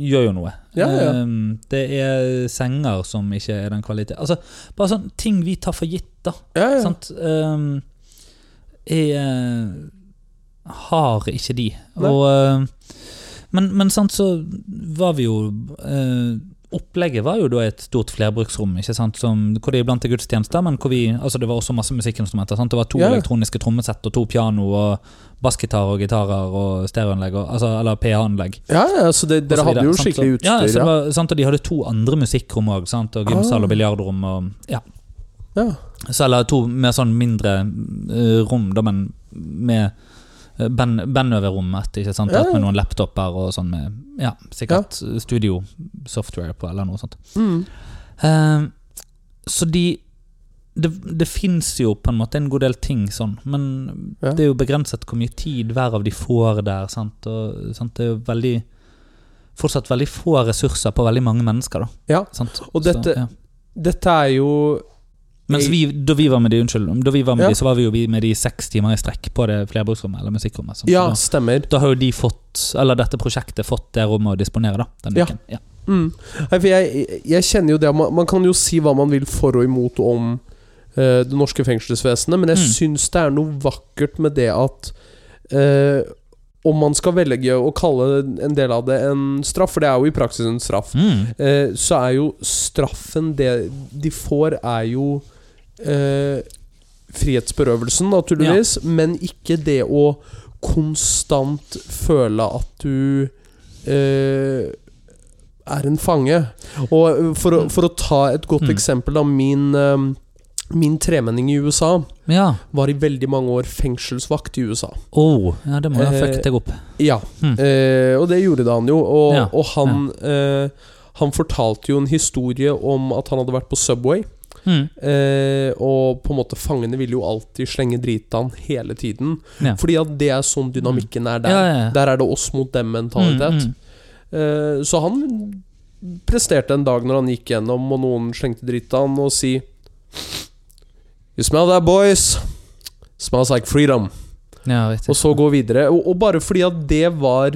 Speaker 2: gjør jo noe.
Speaker 3: Ja, ja.
Speaker 2: Ehm, det er senger som ikke er den kvaliteten Altså, bare sånn ting vi tar for gitt, da.
Speaker 3: ja,
Speaker 1: Sånn
Speaker 3: ja.
Speaker 2: Sant? Ehm, jeg eh, har ikke de.
Speaker 3: Nei.
Speaker 2: Og, eh, men, men sant, så var vi jo eh, Opplegget var jo da et stort flerbruksrom, ikke sant? Som, hvor det iblant er gudstjenester, men hvor vi, altså det var også masse musikkinstrumenter. Sant? Det var to
Speaker 3: Ja.
Speaker 2: elektroniske trommesett og to piano og bassgitar og gitarer og stereoanlegg, og, altså, eller PA-anlegg.
Speaker 3: ja, ja så det, dere
Speaker 2: Og så
Speaker 3: hadde jo
Speaker 2: videre, sant?
Speaker 3: skikkelig
Speaker 2: Så- Ja, så
Speaker 3: utstyr.
Speaker 2: det
Speaker 3: Ja, Ah.
Speaker 2: var, sant? og de hadde to andre musikkrom òg, og gymsal og biljardrom og ja.
Speaker 3: ja.
Speaker 2: Så, eller to mer sånn mindre eh, rom, da, men med eh, band, band over rommet. Ikke sant?
Speaker 3: Ja,
Speaker 2: Alt
Speaker 3: ja.
Speaker 2: Med noen laptoper og sånn med ja, sikkert studio software på, eller noe sånt.
Speaker 1: Mm.
Speaker 2: Eh, så de det, det fins jo på en måte en god del ting sånn, men
Speaker 3: Ja.
Speaker 2: det er jo begrenset hvor mye tid hver av de får der. Sant? Og, sant? Det er jo veldig fortsatt veldig få ressurser på veldig mange mennesker. Da,
Speaker 1: Ja,
Speaker 2: sant?
Speaker 1: og dette- Dette er jo
Speaker 2: Mens vi, da vi var med de, unnskyld, da vi var med
Speaker 3: Ja.
Speaker 2: de, så var vi jo vi med de seks timer i strekk på det flerbruksrommet eller musikkrommet. sant?
Speaker 1: Ja,
Speaker 2: Så
Speaker 1: stemmer.
Speaker 2: Da, da har jo de fått, eller dette prosjektet fått det rommet å disponere, da. Den
Speaker 1: Ja.
Speaker 2: uken. Ja.
Speaker 1: Mm. Nei, for jeg, jeg kjenner jo det man, man kan jo si hva man vil for og imot om eh, det norske fengselsvesenet, men jeg
Speaker 2: Mm.
Speaker 1: syns det er noe vakkert med det at eh, Om man skal velge å kalle en del av det en straff, for det er jo i praksis en straff,
Speaker 2: Mm.
Speaker 1: eh, så er jo straffen det de får, er jo eh, frihetsberøvelsen, naturligvis, men ikke det å konstant føle at du eh, er en fange. Og eh, for, å- for å ta et godt
Speaker 2: Mm.
Speaker 1: eksempel, da. Min, eh, min tremenning i USA
Speaker 2: Ja.
Speaker 1: var i veldig mange år fengselsvakt i USA.
Speaker 2: Oh, ja, det må jo ha
Speaker 1: Eh,
Speaker 2: fucket deg opp.
Speaker 1: Ja,
Speaker 2: Hmm.
Speaker 1: eh, og det gjorde han jo. Og,
Speaker 2: Ja,
Speaker 1: og han eh, Han fortalte jo en historie om at han hadde vært på Subway.
Speaker 2: Mm.
Speaker 1: Eh, og på en måte fangene ville jo alltid slenge drit av han hele tiden.
Speaker 2: Ja.
Speaker 1: Fordi at det er sånn dynamikken er der.
Speaker 2: Ja, ja, ja.
Speaker 1: Der er det oss mot dem-mentalitet.
Speaker 2: Mm,
Speaker 1: Eh, så han presterte en dag når han gikk gjennom og noen slengte dritt av han, og si You smell that, boys? Smells like freedom.
Speaker 2: mm. Ja, riktig.
Speaker 1: Og så gå videre. Og, og bare fordi at det var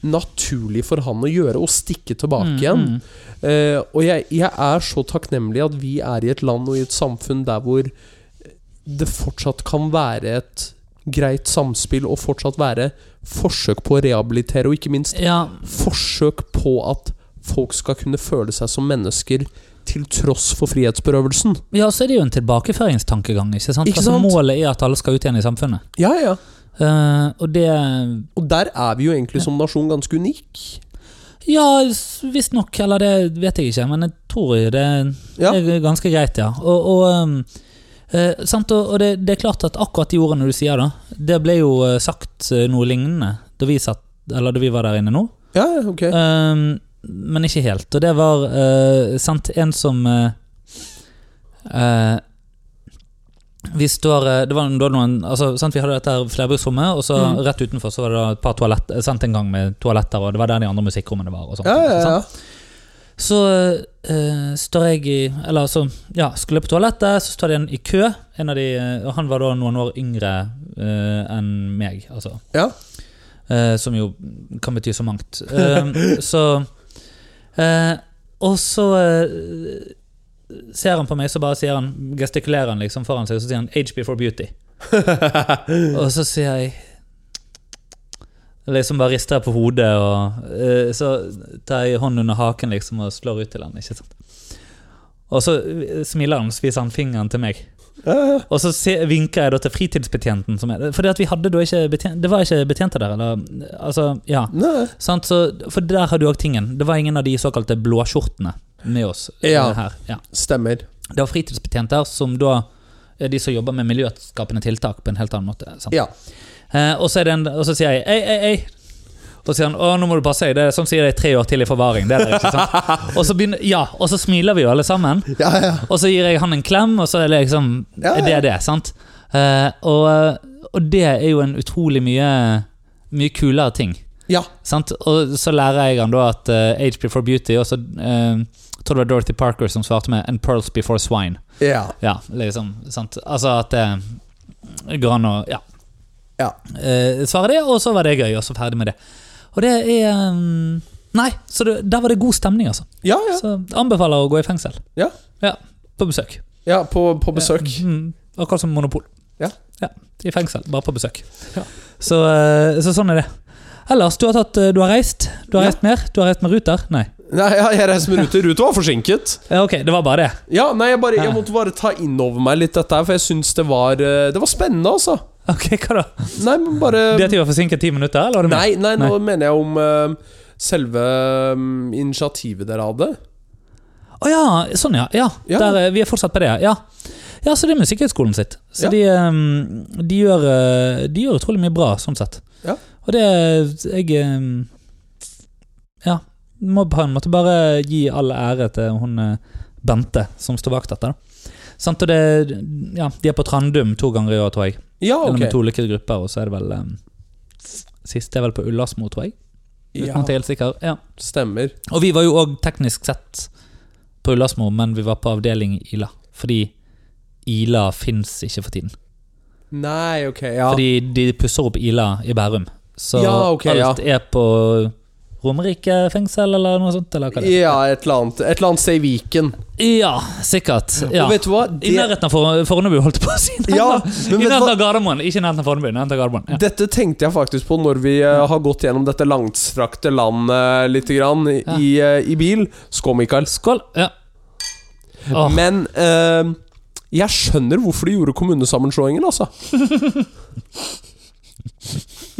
Speaker 1: naturlig for han å gjøre, å stikke tilbake
Speaker 2: Mm,
Speaker 1: igjen.
Speaker 2: mm.
Speaker 1: Eh, og jeg, jeg er så takknemlig at vi er i et land og i et samfunn der hvor det fortsatt kan være et greit samspill, og fortsatt være forsøk på å rehabilitere, og ikke minst
Speaker 2: Ja,
Speaker 1: forsøk på at folk skal kunne føle seg som mennesker til tross for frihetsberøvelsen.
Speaker 2: ja, så er det jo en tilbakeføringstankegang. Ikke sant?
Speaker 1: Ikke
Speaker 2: Altså,
Speaker 1: sant?
Speaker 2: målet er at alle skal ut igjen i samfunnet.
Speaker 1: Ja, ja.
Speaker 2: Eh, og det
Speaker 1: Og der er vi jo egentlig som nasjon ganske unik.
Speaker 2: Ja, visstnok, eller det vet jeg ikke, men jeg tror jo det
Speaker 1: Ja.
Speaker 2: Det er ganske greit, ja. Og, og, ehm, eh, sant? og, og det, det er klart at akkurat de ordene du sier, da, det ble jo eh, sagt eh, noe lignende da vi, satt, eller da vi var der inne nå.
Speaker 1: Ja, ja, ok.
Speaker 2: Ehm, men ikke helt. Og det var eh, sant, en som eh, eh, vi står, eh, det var da noen, altså, sant, vi hadde dette her flerbruksrommet, og så
Speaker 3: Mm.
Speaker 1: Mhm.
Speaker 2: rett utenfor så var det da et par toalett, eh, sant, en gang med toaletter, og det var der de andre musikkrommene var. Og sånt,
Speaker 3: Ja, ja,
Speaker 2: sant?
Speaker 3: ja.
Speaker 2: Så eh, står jeg i Eller så ja, skulle jeg på toalettet, så står det en i kø. En av de, eh, og han var da noen år yngre eh, enn meg, altså.
Speaker 3: Ja.
Speaker 2: Eh, som jo kan bety så mangt. Eh, så eh, Og så eh, ser han på meg, så bare sier han, gestikulerer han liksom foran seg, og så sier han 'Age before beauty'. og så sier jeg Liksom bare rister jeg på hodet, og eh, så tar jeg hånden under haken liksom og slår ut til han. ikke sant? Og så eh, smiler han, så viser han fingeren til meg.
Speaker 1: Ja,
Speaker 2: Og så se, vinker jeg da til fritidsbetjenten. Som er, fordi at vi hadde da ikke betjent, det var ikke betjenter der. Eller, altså, ja.
Speaker 1: Nei.
Speaker 2: Sant? Så, for der har du òg tingen. Det var ingen av de såkalte blåskjortene med oss. eh,
Speaker 1: Ja.
Speaker 2: Her. ja.
Speaker 1: Stemmer.
Speaker 2: Det var fritidsbetjenter som da er de som jobber med miljøskapende tiltak på en helt annen måte. Sant?
Speaker 1: Ja.
Speaker 2: Eh, og, så er det en, og så sier jeg ei, ei, ei. Og så sier han å, nå må du passe deg, det er sånn sier de tre år til i forvaring. Det er det, ikke sant? Og så begynner, ja, og så smiler vi jo alle sammen.
Speaker 1: Ja, ja.
Speaker 2: Og så gir jeg han en klem, og så er det liksom
Speaker 1: Ja, ja.
Speaker 2: Det er det, sant? Eh, og, og det er jo en utrolig mye, mye kulere ting.
Speaker 1: Ja.
Speaker 2: Sant? Og så lærer jeg han da at eh, Age Before Beauty Og så eh, tror jeg det var Dorothy Parker som svarte med And Pearls Before Swine.
Speaker 1: ja.
Speaker 2: Ja, liksom, sant Altså at det går an å Ja.
Speaker 1: Ja.
Speaker 2: Eh, svare det, og så var det gøy, og så ferdig med det. Og det er mm, Nei, så det, der var det god stemning, altså.
Speaker 1: Ja, ja.
Speaker 2: Så anbefaler å gå i fengsel.
Speaker 1: Ja.
Speaker 2: På besøk.
Speaker 1: ja på, på besøk.
Speaker 2: Ja, mm, akkurat som Monopol.
Speaker 1: Ja.
Speaker 2: I fengsel, bare på besøk.
Speaker 1: Ja.
Speaker 2: Så, eh, så sånn er det. Ellers, du har, tatt, eh, du har reist? Du har
Speaker 1: Ja.
Speaker 2: reist mer? Du har reist med Ruter? Nei.
Speaker 1: Nei, ja, jeg reiste med Ruter. Ruter var forsinket.
Speaker 2: Ja, ok, det var bare det.
Speaker 1: Ja, nei, jeg, bare, jeg
Speaker 2: Ja.
Speaker 1: måtte bare ta inn over meg litt dette her, for jeg syns det var eh, Det var spennende, altså.
Speaker 2: Ok, hva da?
Speaker 1: Nei, men bare
Speaker 2: Det at de var forsinket ti minutter? eller var det mer?
Speaker 1: Nei, nei, nå mener jeg om eh, selve mm, initiativet dere hadde.
Speaker 2: Å ja, sånn ja. ja,
Speaker 1: Ja.
Speaker 2: Der, eh, vi er fortsatt på det, ja. Ja, så det er Musikkhøgskolen sitt.
Speaker 1: Ja.
Speaker 2: Så de, eh, de, gjør, eh, de gjør utrolig mye bra, sånn sett.
Speaker 1: Ja.
Speaker 2: Og det Jeg eh, Ja. Må på en måte bare gi all ære til hun eh, Bente som står bak dette. da. Sant, og det, ja, de er på Trandum to ganger i år, tror jeg.
Speaker 1: Ja,
Speaker 2: Eller med
Speaker 1: ok.
Speaker 2: to ulike grupper, og så er det vel eh, Siste er vel på Ullersmo, tror jeg. Uten
Speaker 1: Ja,
Speaker 2: at jeg er helt sikker. Ja.
Speaker 1: stemmer.
Speaker 2: Og vi var jo òg teknisk sett på Ullasmo, men vi var på avdeling Ila. Fordi Ila fins ikke for tiden.
Speaker 1: Nei, ok, ja.
Speaker 2: Fordi de pusser opp Ila i Bærum. Så
Speaker 1: Ja, ok,
Speaker 2: alt er på Romerike fengsel, eller noe sånt? Eller hva det er.
Speaker 1: Ja, et eller annet Et eller annet sted i Viken.
Speaker 2: Ja, sikkert. Ja.
Speaker 1: Og vet du hva?
Speaker 2: I
Speaker 1: Det,
Speaker 2: nærheten av For- Fornebu, holdt jeg på å si. I
Speaker 1: Ja, men vet du
Speaker 2: nærheten
Speaker 1: hva?
Speaker 2: av Gardermoen. Ikke i nærheten av Fornebu. i nærheten av Gardermoen. Ja.
Speaker 1: Dette tenkte jeg faktisk på når vi eh, har gått gjennom dette langstrakte landet lite grann i,
Speaker 2: Ja.
Speaker 1: i, eh, i bil. Skål, Mikael.
Speaker 2: Skål. Ja. Åh,
Speaker 1: Men eh, jeg skjønner hvorfor de gjorde kommunesammenslåingen, altså.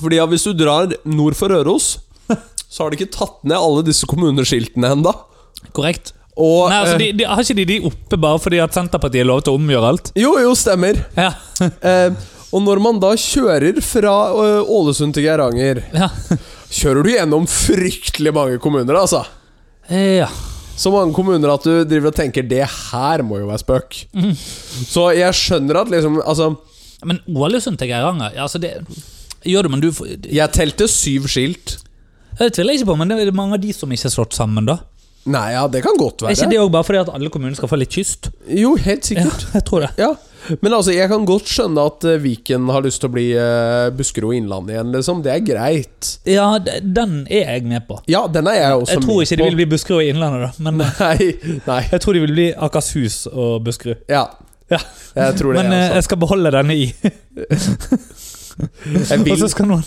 Speaker 1: Fordi ja, hvis du drar nord for Røros, så har de ikke tatt ned alle disse kommuneskiltene ennå.
Speaker 2: korrekt.
Speaker 1: Og
Speaker 2: Nei, altså,
Speaker 1: eh,
Speaker 2: de, de, har ikke de de oppe bare fordi at Senterpartiet lovet å omgjøre alt?
Speaker 1: Jo, jo, stemmer.
Speaker 2: Ja.
Speaker 1: Eh, og når man da kjører fra eh, Ålesund til Geiranger,
Speaker 2: Ja.
Speaker 1: kjører du gjennom fryktelig mange kommuner, altså.
Speaker 2: ja.
Speaker 1: Så mange kommuner at du driver og tenker 'det her må jo være spøk'. Så jeg skjønner at liksom Altså,
Speaker 2: Men Ålesund til Geiranger ja, altså det gjør det, men du får-
Speaker 1: jeg telte syv skilt.
Speaker 2: Jeg tviler ikke på, men det er mange av de som ikke er slått sammen, da.
Speaker 1: Nei, ja, det kan godt
Speaker 2: Er
Speaker 1: være.
Speaker 2: ikke det òg bare fordi at alle kommuner skal få litt kyst?
Speaker 1: Jo, helt
Speaker 2: Ja,
Speaker 1: sikkert.
Speaker 2: jeg tror det.
Speaker 1: Ja. Men altså, jeg kan godt skjønne at eh, Viken har lyst til å bli eh, Buskerud og Innlandet igjen, liksom. Det er greit.
Speaker 2: Ja, d- den er jeg med på.
Speaker 1: Ja, den er jeg også
Speaker 2: Jeg tror
Speaker 1: med
Speaker 2: ikke de vil
Speaker 1: på.
Speaker 2: bli Buskerud og Innlandet, da, men eh,
Speaker 1: Nei, nei.
Speaker 2: jeg tror de vil bli Akershus og Buskerud.
Speaker 1: Ja.
Speaker 2: Ja.
Speaker 1: Jeg tror det, altså.
Speaker 2: Men eh,
Speaker 1: jeg
Speaker 2: jeg skal beholde denne i.
Speaker 1: også. Jeg
Speaker 2: Og så
Speaker 1: vil
Speaker 2: skal, noen,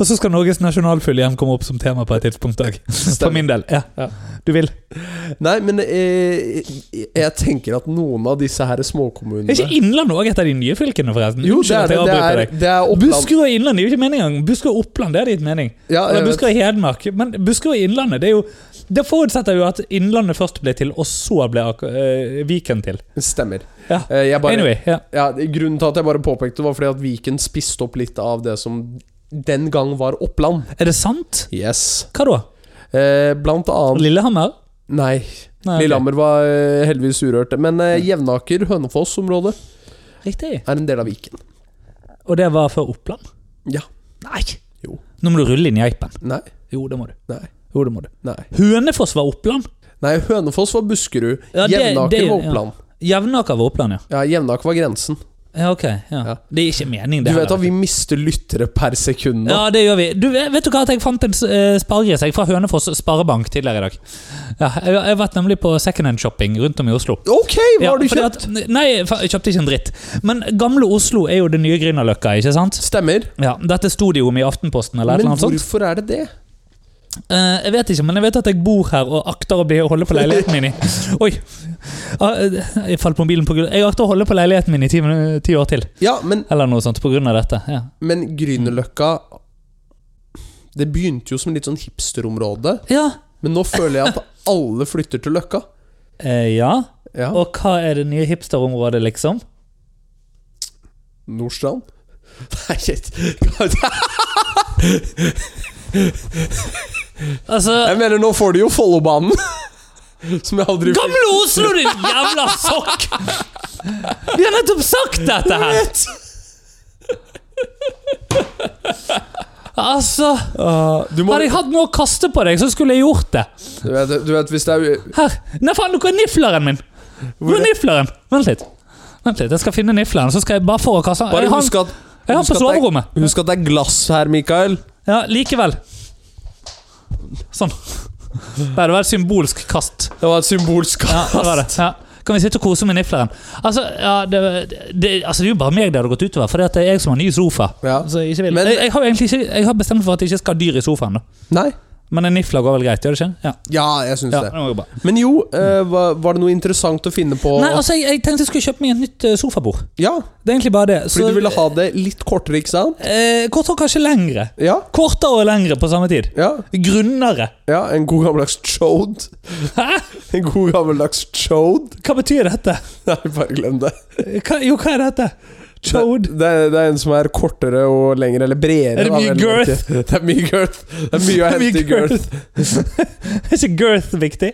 Speaker 2: og så skal Norges nasjonalfugl igjen komme opp som tema på et tidspunkt òg. For
Speaker 1: stemme.
Speaker 2: min del. Ja. Du vil.
Speaker 1: Nei, men eh, jeg, jeg tenker at noen av disse her
Speaker 2: Er ikke
Speaker 1: småkommunene
Speaker 2: Innlandet òg et av de nye fylkene, forresten?
Speaker 1: Jo, det
Speaker 2: Unnskyld
Speaker 1: er det.
Speaker 2: at jeg
Speaker 1: Det
Speaker 2: avbryter
Speaker 1: er,
Speaker 2: deg.
Speaker 1: det er Oppland.
Speaker 2: Buskerud og Innlandet det er jo ikke meningen engang. Buskerud og Oppland det er det gitt mening.
Speaker 1: Ja, jeg
Speaker 2: Eller
Speaker 1: vet.
Speaker 2: Buskerud og Hedmark. Men Buskerud og Innlandet det er jo Det forutsetter jo at Innlandet først ble til, og så ble Ak eh, Viken til.
Speaker 1: Stemmer.
Speaker 2: Ja.
Speaker 1: Eh, Jeg bare,
Speaker 2: Anyway. Ja.
Speaker 1: ja, grunnen til at jeg bare påpekte, var fordi at Viken spiste opp litt av det som den gang var Oppland.
Speaker 2: Er det sant?
Speaker 1: Yes.
Speaker 2: Hva da?
Speaker 1: Eh, blant annet
Speaker 2: Lillehammer?
Speaker 1: Nei.
Speaker 2: Nei, ok. Mm.
Speaker 1: Lillehammer var eh, heldigvis urørt. Men eh, Jevnaker, Hønefoss-området,
Speaker 2: Riktig.
Speaker 1: er en del av Viken.
Speaker 2: Og det var før Oppland?
Speaker 1: Ja.
Speaker 2: Nei!
Speaker 1: Jo.
Speaker 2: Nå må du rulle inn geipen.
Speaker 1: Nei.
Speaker 2: Jo, det må du.
Speaker 1: Nei.
Speaker 2: Jo, det må du.
Speaker 1: Nei,
Speaker 2: Hønefoss var Oppland.
Speaker 1: nei Hønefoss var Buskerud.
Speaker 2: Ja, det-
Speaker 1: Jevnaker
Speaker 2: det-
Speaker 1: var Oppland.
Speaker 2: Jevnaker var Oppland, ja.
Speaker 1: Ja, Jevnaker var grensen.
Speaker 2: Ja, ok. Ja.
Speaker 1: Ja.
Speaker 2: Det er ikke meningen, det.
Speaker 1: Du vet
Speaker 2: heller.
Speaker 1: at vi mister lyttere per sekund nå?
Speaker 2: ja, det gjør vi. Du, vet du hva? at Jeg fant en eh, spargris jeg, fra Hønefoss Sparebank tidligere i dag. Ja, jeg, jeg har vært nemlig på secondhand-shopping rundt om i Oslo.
Speaker 1: Ok, hva
Speaker 2: Ja,
Speaker 1: har du
Speaker 2: fordi
Speaker 1: kjøpt?
Speaker 2: At, nei, fa- jeg kjøpte ikke en dritt. Men gamle Oslo er jo det nye Grünerløkka, ikke sant?
Speaker 1: Stemmer.
Speaker 2: Ja, Dette sto det jo om i Aftenposten eller et
Speaker 1: Men
Speaker 2: eller annet sånt.
Speaker 1: hvorfor er det det?
Speaker 2: Eh, jeg vet ikke, men jeg vet at jeg bor her og akter å bli å holde på leiligheten min i Oi! Ah, eh, Jeg falt mobilen på gulvet. Jeg akter å holde på leiligheten min i ti, minu- ti år til,
Speaker 1: Ja, men,
Speaker 2: eller noe sånt, pga. dette. Ja.
Speaker 1: men Grünerløkka Det begynte jo som litt sånn hipsterområde,
Speaker 2: Ja.
Speaker 1: men nå føler jeg at alle flytter til Løkka.
Speaker 2: Eh, ja.
Speaker 1: Ja,
Speaker 2: Og hva er det nye hipsterområdet, liksom?
Speaker 1: Nordstrand. Nei, shit. Jeg
Speaker 2: Altså
Speaker 1: mener, nå får de jo Follobanen! Som jeg aldri
Speaker 2: Gamle Oslo, din jævla sokk! Vi har nettopp sagt dette her! Altså
Speaker 1: Du, må,
Speaker 2: Hadde jeg hatt noe å kaste på deg, så skulle jeg gjort det.
Speaker 1: du, vet, du vet, hvis det er
Speaker 2: Her. Nei, faen, hvor er nifleren min? Hvor er nifleren? Vent litt. Vent litt, Jeg skal finne nifleren, så skal jeg bare for å kaste den.
Speaker 1: Bare
Speaker 2: Jeg har
Speaker 1: husk at,
Speaker 2: den- jeg har
Speaker 1: husk
Speaker 2: den på
Speaker 1: at det er-
Speaker 2: soverommet.
Speaker 1: husk at det er glass her, Mikael.
Speaker 2: Ja, likevel. Sånn. Nei, det var et symbolsk kast.
Speaker 1: Det var et symbolsk
Speaker 2: Ja, det var det. Ja. Kan vi sitte og kose med nifleren? Altså, ja, det, det, altså, det er jo bare meg det hadde gått utover, for det er jeg som har ny sofa.
Speaker 1: Ja.
Speaker 2: Så jeg, Altså, ikke vil.
Speaker 1: Men-
Speaker 2: jeg, jeg har jo egentlig ikke, jeg har bestemt meg for at jeg ikke skal ha dyr i sofaen. da
Speaker 1: Nei?
Speaker 2: Men en nifla går vel greit, gjør det ikke? Ja,
Speaker 1: Ja, jeg syns
Speaker 2: ja
Speaker 1: det.
Speaker 2: det var jo bra.
Speaker 1: Men jo, eh, var, var det noe interessant å finne på?
Speaker 2: Nei, altså, jeg, jeg tenkte jeg skulle kjøpe meg et nytt eh, sofabord.
Speaker 1: ja,
Speaker 2: Det er egentlig bare det.
Speaker 1: fordi du ville ha det litt kortere, ikke sant?
Speaker 2: eh, Kort og kanskje lengre.
Speaker 1: Ja,
Speaker 2: Kortere og lengre på samme tid.
Speaker 1: ja,
Speaker 2: Grunnere.
Speaker 1: ja en god gammeldags chode.
Speaker 2: Hæ?
Speaker 1: En god gammeldags chode.
Speaker 2: Hva betyr dette?
Speaker 1: Nei, bare glem det.
Speaker 2: Hva, jo, hva er dette? Chode?
Speaker 1: Det, det, er- det er en som er kortere og lengre, eller bredere.
Speaker 2: Er det
Speaker 1: da,
Speaker 2: mye
Speaker 1: vel,
Speaker 2: girth?
Speaker 1: ikke? Det er mye girth. Det er mye å
Speaker 2: Mye
Speaker 1: hente i girth.
Speaker 2: Er ikke girth viktig?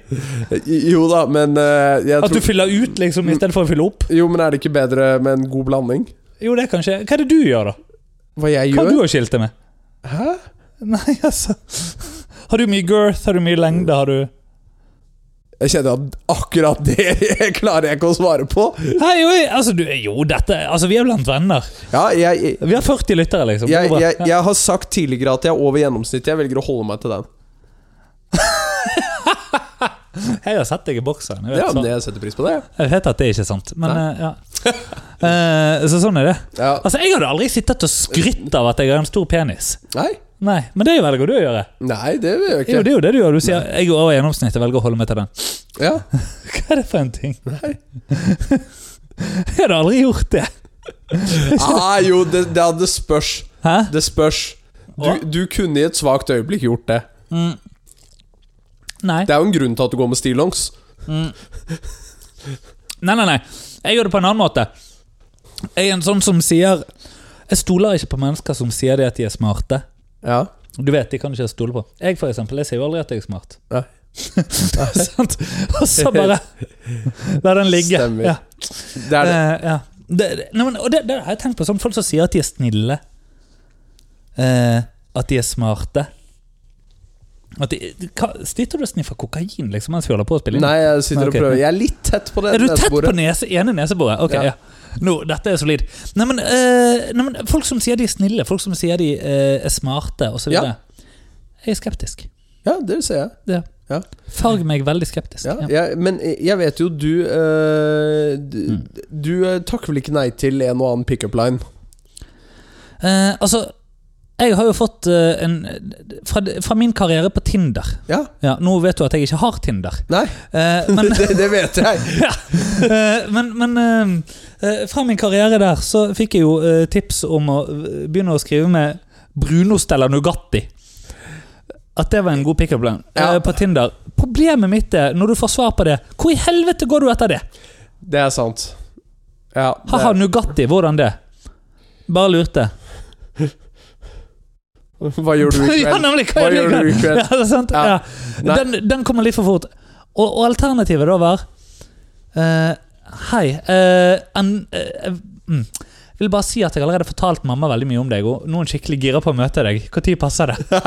Speaker 1: Jo da, men eh, jeg
Speaker 2: At du
Speaker 1: tror
Speaker 2: fyller ut liksom istedenfor å fylle opp?
Speaker 1: Jo, men er det ikke bedre med en god blanding?
Speaker 2: Jo, det kan skje. Hva er det du gjør, da?
Speaker 1: Hva jeg
Speaker 2: Hva har
Speaker 1: gjør?
Speaker 2: du å skilte med?
Speaker 1: Hæ?
Speaker 2: Nei, altså Har du mye girth? Har du mye lengde? Har du
Speaker 1: Jeg kjenner at akkurat det klarer jeg ikke å svare på.
Speaker 2: Hei, jo, jeg- altså, du, jo, dette Altså, vi er blant venner.
Speaker 1: Ja, jeg,
Speaker 2: Vi har 40 lyttere, liksom.
Speaker 1: Jeg,
Speaker 2: Det er
Speaker 1: jeg,
Speaker 2: bra.
Speaker 1: jeg har sagt tidligere at jeg er over gjennomsnittet. Jeg velger å holde meg til den.
Speaker 2: Jeg har sett deg i bokseren. Jeg vet,
Speaker 1: Ja,
Speaker 2: så-
Speaker 1: men Jeg setter pris på det. jeg.
Speaker 2: Jeg vet at det er ikke sant, men
Speaker 1: Nei.
Speaker 2: eh, ja. Eh, så sånn er det.
Speaker 1: Ja.
Speaker 2: Altså, Jeg hadde aldri sittet og skrytt av at jeg har en stor penis.
Speaker 1: Nei.
Speaker 2: Nei, Men det velger du å gjøre.
Speaker 1: Nei, det vil jeg
Speaker 2: Det er jo
Speaker 1: ikke.
Speaker 2: det, er jo det du gjør. Du sier jeg går over gjennomsnittet, velger å holde meg til den.
Speaker 1: Ja.
Speaker 2: Hva er det for en ting? jeg hadde aldri gjort det.
Speaker 1: Ah, jo, det, det, det spørs.
Speaker 2: Hæ?
Speaker 1: Det spørs. Du, du kunne i et svakt øyeblikk gjort det.
Speaker 2: Mm. Nei.
Speaker 1: Det er jo en grunn til at du går med stillongs.
Speaker 2: Mm. Nei, nei, nei. Jeg gjør det på en annen måte. Jeg er en sånn som sier Jeg stoler ikke på mennesker som sier det at de er smarte.
Speaker 1: Ja.
Speaker 2: Du vet, de kan ikke jeg stole på. Jeg for eksempel, jeg sier jo aldri at jeg er smart.
Speaker 1: Nei.
Speaker 2: Sant? Og så bare La den ligge.
Speaker 1: Stemmer.
Speaker 2: Ja.
Speaker 1: Det er det.
Speaker 2: Eh, ja. Det, det, nei, men, og det, det har jeg tenkt på. Sånn, folk som sier at de er snille. Eh, at de er smarte. At de, hva, sitter du og sniffer kokain liksom, mens vi holder på å spille inn?
Speaker 1: Nei, jeg sitter og
Speaker 2: Ok.
Speaker 1: prøver. Jeg er litt tett på det
Speaker 2: Er du tett på
Speaker 1: neseboret.
Speaker 2: nese, ene neseboret? Ok,
Speaker 1: Ja.
Speaker 2: ja. Nå, dette er solid. Nei, men, eh, nei, men folk som sier de er snille, folk som sier de eh, er smarte osv.
Speaker 1: Ja.
Speaker 2: videre Jeg er skeptisk.
Speaker 1: Ja, det ser jeg.
Speaker 2: Ja.
Speaker 1: Ja.
Speaker 2: Farg meg veldig skeptisk.
Speaker 1: Ja,
Speaker 2: Ja.
Speaker 1: jeg, men jeg vet jo du eh, Du,
Speaker 2: Mm.
Speaker 1: du eh, takker vel ikke nei til en og annen pickup line?
Speaker 2: Eh, altså, jeg har jo fått eh, en fra, fra min karriere på Tinder
Speaker 1: Ja.
Speaker 2: ja, Nå vet du at jeg ikke har Tinder,
Speaker 1: Nei,
Speaker 2: Eh, men,
Speaker 1: det, det vet jeg.
Speaker 2: eh, men, men eh, eh, fra min karriere der så fikk jeg jo eh, tips om å eh, begynne å skrive med brunost eller Nugatti. At det var en god pickup line eh,
Speaker 1: Ja.
Speaker 2: på Tinder. Problemet mitt er, når du får svar på det, hvor i helvete går du etter det?
Speaker 1: Det er sant. Ja, det
Speaker 2: Haha,
Speaker 1: er-
Speaker 2: Nugatti, hvordan det? Bare lurte.
Speaker 1: Hva gjør du i
Speaker 2: Ja,
Speaker 1: kveld?
Speaker 2: nemlig, hva
Speaker 1: Hva
Speaker 2: gjør du i kveld? Ja, det er sant.
Speaker 1: Ja.
Speaker 2: Ja.
Speaker 1: Nei.
Speaker 2: Den, den kommer litt for fort. Og, og alternativet da var eh, Hei eh, en- eh, eh, mm. Jeg vil bare si at jeg allerede har fortalt mamma veldig mye om deg. Og nå er hun skikkelig gira på å møte deg. Når passer det?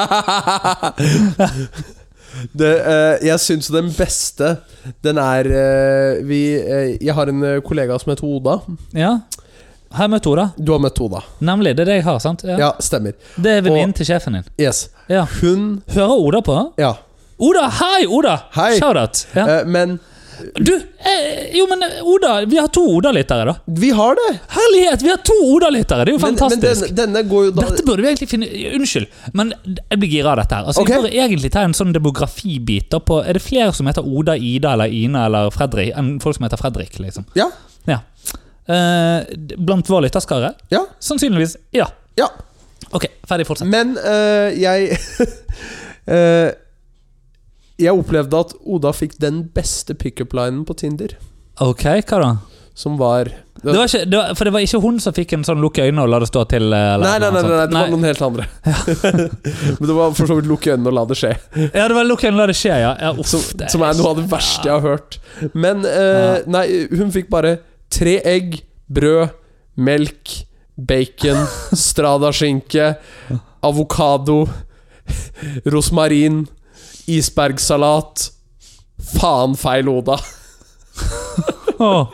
Speaker 1: det, eh, jeg syns den beste, den er eh, vi, eh, Jeg har en eh, kollega som heter Oda.
Speaker 2: Ja, Har jeg møtt Oda?
Speaker 1: Du har møtt Oda.
Speaker 2: Nemlig. Det er det jeg har, sant?
Speaker 1: Ja, stemmer.
Speaker 2: Det er venninnen
Speaker 1: Og-
Speaker 2: til sjefen din.
Speaker 1: Yes.
Speaker 2: Ja.
Speaker 1: Hun
Speaker 2: Hører Oda på?
Speaker 1: Ja.
Speaker 2: Oda, hei, Oda!
Speaker 1: Hei.
Speaker 2: Shoutout. Ja.
Speaker 1: Eh, men
Speaker 2: Du, eh, jo, men eh, Oda Vi har to Oda-lyttere, da.
Speaker 1: vi har det!
Speaker 2: Herlighet, vi har to Oda-lyttere! Det er jo
Speaker 1: Men, men
Speaker 2: fantastisk.
Speaker 1: denne, denne går jo da
Speaker 2: Dette burde vi egentlig finne Unnskyld, men jeg blir gira av dette. her altså,
Speaker 1: Ok.
Speaker 2: Vi burde egentlig ta en sånn demografibit da på Er det flere som heter Oda, Ida eller Ina eller Fredrik enn folk som heter Fredrik? liksom
Speaker 1: Ja.
Speaker 2: Ja Eh, d- Blant vår lytterskare?
Speaker 1: Ja.
Speaker 2: Sannsynligvis. Ja.
Speaker 1: ja.
Speaker 2: Ok, ferdig, fortsett.
Speaker 1: Men eh, jeg eh, Jeg opplevde at Oda fikk den beste pickup-linen på Tinder,
Speaker 2: Ok, hva da?
Speaker 1: som var
Speaker 2: Det var ikke, det var, for det var ikke hun som fikk en sånn 'lukk øynene og la det stå til'? eh, Eller
Speaker 1: Nei, nei, nei, nei,
Speaker 2: noe
Speaker 1: det var
Speaker 2: sånt.
Speaker 1: noen helt andre. Men det var for så vidt lukke øynene og la det skje.
Speaker 2: Ja, det var 'lukk øynene og la det skje', ja. ja uff,
Speaker 1: Som,
Speaker 2: det
Speaker 1: som er noe av det verste jeg har hørt. Men eh, nei, hun fikk bare tre egg, brød, melk, bacon, stradaskinke, avokado, rosmarin, isbergsalat Faen feil, Oda.
Speaker 2: Åh.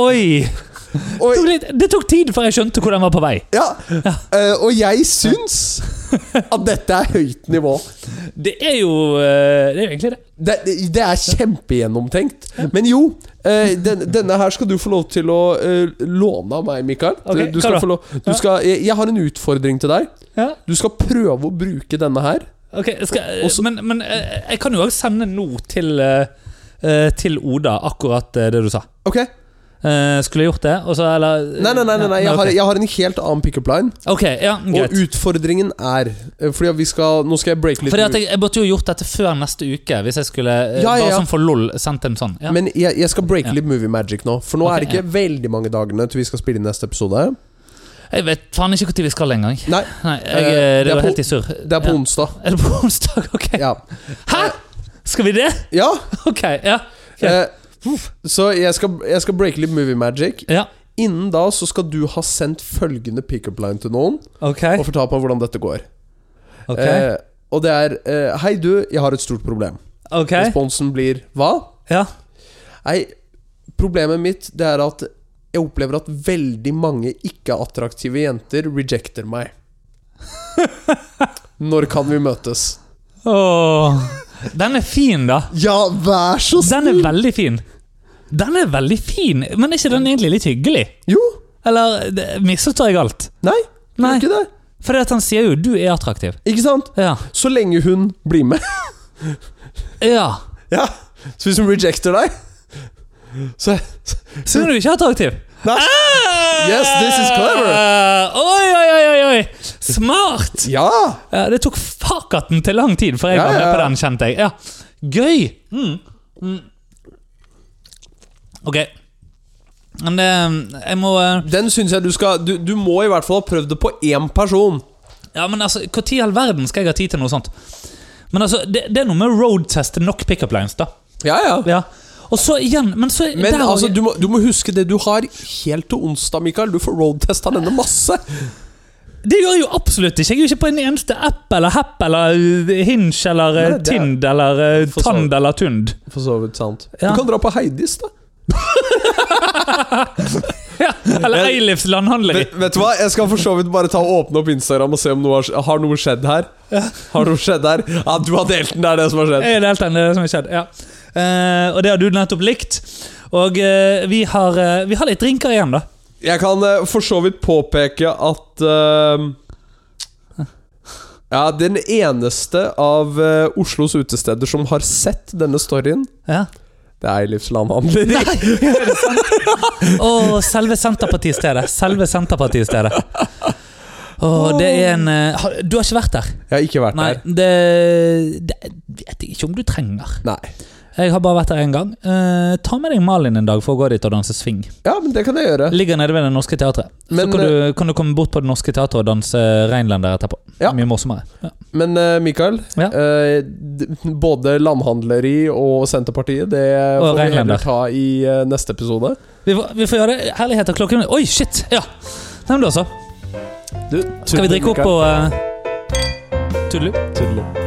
Speaker 2: Oi! Det tok,
Speaker 1: Og,
Speaker 2: litt, det tok tid før jeg skjønte hvor den var på vei.
Speaker 1: ja, eh, og jeg syns at dette er høyt nivå.
Speaker 2: Det er jo eh, Det er jo egentlig det.
Speaker 1: Det, det- det er kjempegjennomtenkt. Men jo, eh, den, denne her skal du få lov til å eh, låne av meg, Mikael. Du-
Speaker 2: Ok,
Speaker 1: du
Speaker 2: hva
Speaker 1: skal
Speaker 2: da?
Speaker 1: få lov,
Speaker 2: Ja.
Speaker 1: du skal, jeg, jeg har en utfordring til deg.
Speaker 2: Ja.
Speaker 1: Du skal prøve å bruke denne her.
Speaker 2: Ok, skal,
Speaker 1: Og- også-
Speaker 2: Men, men eh, jeg kan jo også sende nå til, eh, eh, til Oda akkurat eh, det du sa.
Speaker 1: Ok?
Speaker 2: Eh, skulle jeg gjort det? Og så, eller eh,
Speaker 1: Nei, nei, nei, nei, nei. Jeg,
Speaker 2: ok.
Speaker 1: har, jeg har en helt annen pickup line.
Speaker 2: Ok, ja,
Speaker 1: Og
Speaker 2: greit.
Speaker 1: utfordringen er eh, Fordi at vi skal Nå skal jeg breake litt
Speaker 2: Fordi
Speaker 1: ut.
Speaker 2: at jeg, jeg burde jo gjort dette før neste uke, hvis jeg skulle eh,
Speaker 1: Ja, ja, ja.
Speaker 2: bare sånn for lol sendt en sånn. Ja.
Speaker 1: Men jeg, jeg skal breake
Speaker 2: Ja.
Speaker 1: litt movie magic nå. For nå
Speaker 2: Ok,
Speaker 1: er det ikke veldig mange dagene til vi skal spille inn neste episode.
Speaker 2: jeg vet faen ikke når vi skal engang.
Speaker 1: Nei,
Speaker 2: Nei,
Speaker 1: Eh,
Speaker 2: jeg, eh,
Speaker 1: det
Speaker 2: det
Speaker 1: er
Speaker 2: var
Speaker 1: på-
Speaker 2: helt i surr.
Speaker 1: det er på
Speaker 2: ja.
Speaker 1: onsdag.
Speaker 2: Er det på onsdag? Ok.
Speaker 1: Ja.
Speaker 2: Hæ?! Skal vi det?
Speaker 1: ja
Speaker 2: Ok, ja. Ok.
Speaker 1: eh, så jeg skal, jeg skal breake litt movie magic.
Speaker 2: Ja,
Speaker 1: Innen da så skal du ha sendt følgende pickup line til noen
Speaker 2: ok.
Speaker 1: og fortalt meg hvordan dette går.
Speaker 2: Eh. Ok.
Speaker 1: Eh, og det er eh, Hei, du, jeg har et stort problem.
Speaker 2: ok.
Speaker 1: Responsen blir hva?
Speaker 2: Ja.
Speaker 1: Nei, problemet mitt det er at jeg opplever at veldig mange ikke-attraktive jenter rejecter meg. Når kan vi møtes?
Speaker 2: Åh. Den er fin, da.
Speaker 1: Ja, vær så
Speaker 2: Den er veldig fin. Den er veldig fin, men er ikke den egentlig litt hyggelig?
Speaker 1: Jo,
Speaker 2: Eller det- misforstår jeg alt?
Speaker 1: nei, det
Speaker 2: Nei.
Speaker 1: er ikke det.
Speaker 2: For han sier jo 'du er attraktiv'.
Speaker 1: Ikke sant?
Speaker 2: Ja.
Speaker 1: Så lenge hun blir med.
Speaker 2: ja.
Speaker 1: Ja, Så hvis hun rejecter deg, så, så
Speaker 2: Så er du ikke attraktiv.
Speaker 1: Nei.
Speaker 2: Ah!
Speaker 1: Yes, this is clever.
Speaker 2: Eh, Oi, oi, oi, oi, oi. Smart!
Speaker 1: Ja!
Speaker 2: Ja, det tok fakaten til lang tid før jeg
Speaker 1: Ja,
Speaker 2: var med
Speaker 1: ja,
Speaker 2: på
Speaker 1: ja.
Speaker 2: den, kjente jeg. Ja. Gøy! Mm. Mm. Ok. Men det, jeg må eh,
Speaker 1: Den syns jeg du skal du, du må i hvert fall ha prøvd det på én person.
Speaker 2: Ja, men altså, Når i all verden skal jeg ha tid til noe sånt? Men altså, Det, det er noe med å roadteste nok pickup lines, da.
Speaker 1: Ja, ja.
Speaker 2: Ja. Og så igjen Men så
Speaker 1: Men
Speaker 2: der og-
Speaker 1: altså, du må, du må huske det du har helt til onsdag, Mikael. Du får roadtesta denne masse.
Speaker 2: Det gjør jeg jo absolutt ikke! Jeg er jo ikke på en eneste app eller Happ eller uh, Hinge eller uh,
Speaker 1: Nei, det er-
Speaker 2: Tind eller uh,
Speaker 1: For så-
Speaker 2: Tand eller Tund.
Speaker 1: For så vidt sant.
Speaker 2: Ja.
Speaker 1: Du kan dra på Heidis, da.
Speaker 2: Ja, eller Eilifs landhandleri.
Speaker 1: Vet, vet du hva, jeg skal for så vidt bare ta og åpne opp Instagram og se om noe har, har noe skjedd her. Har noe skjedd her? Ja, du har delt den, det er det som har skjedd.
Speaker 2: Det er det helt enig, det er det som har skjedd. Ja. Eh, og det har du nettopp likt. Og eh, vi, har, eh, vi har litt drinker igjen, da.
Speaker 1: Jeg kan eh, for så vidt påpeke at eh, Ja, den eneste av eh, Oslos utesteder som har sett denne storyen,
Speaker 2: Ja.
Speaker 1: det er Eilifs landhandler.
Speaker 2: Og selve Senterpartistedet. Selve Senterpartistedet. Åh, det er en eh, har- Du har ikke vært der?
Speaker 1: Jeg har ikke vært
Speaker 2: Nei,
Speaker 1: der.
Speaker 2: det, det vet jeg ikke om du trenger.
Speaker 1: Nei.
Speaker 2: Jeg har bare vært der én gang. Eh, ta med deg Malin en dag for å gå dit og danse swing.
Speaker 1: Ja, men det kan jeg gjøre.
Speaker 2: Ligger nede ved Det Norske Teatret. Så
Speaker 1: Men, eh,
Speaker 2: kan du, kan du komme bort på Det Norske Teatret og danse reinlender etterpå.
Speaker 1: Ja.
Speaker 2: Mye morsommere. Ja.
Speaker 1: Men eh, Mikael,
Speaker 2: Ja.
Speaker 1: eh, d- både landhandleri og Senterpartiet, det får vi
Speaker 2: Rheinländer.
Speaker 1: heller ta i eh, neste episode.
Speaker 2: Vi, får, vi får gjøre det. Herlighet av klokken Oi, shit! Ja. Nei, men da så.
Speaker 1: Du,
Speaker 2: Skal vi drikke opp og uh, Tudelu?
Speaker 1: og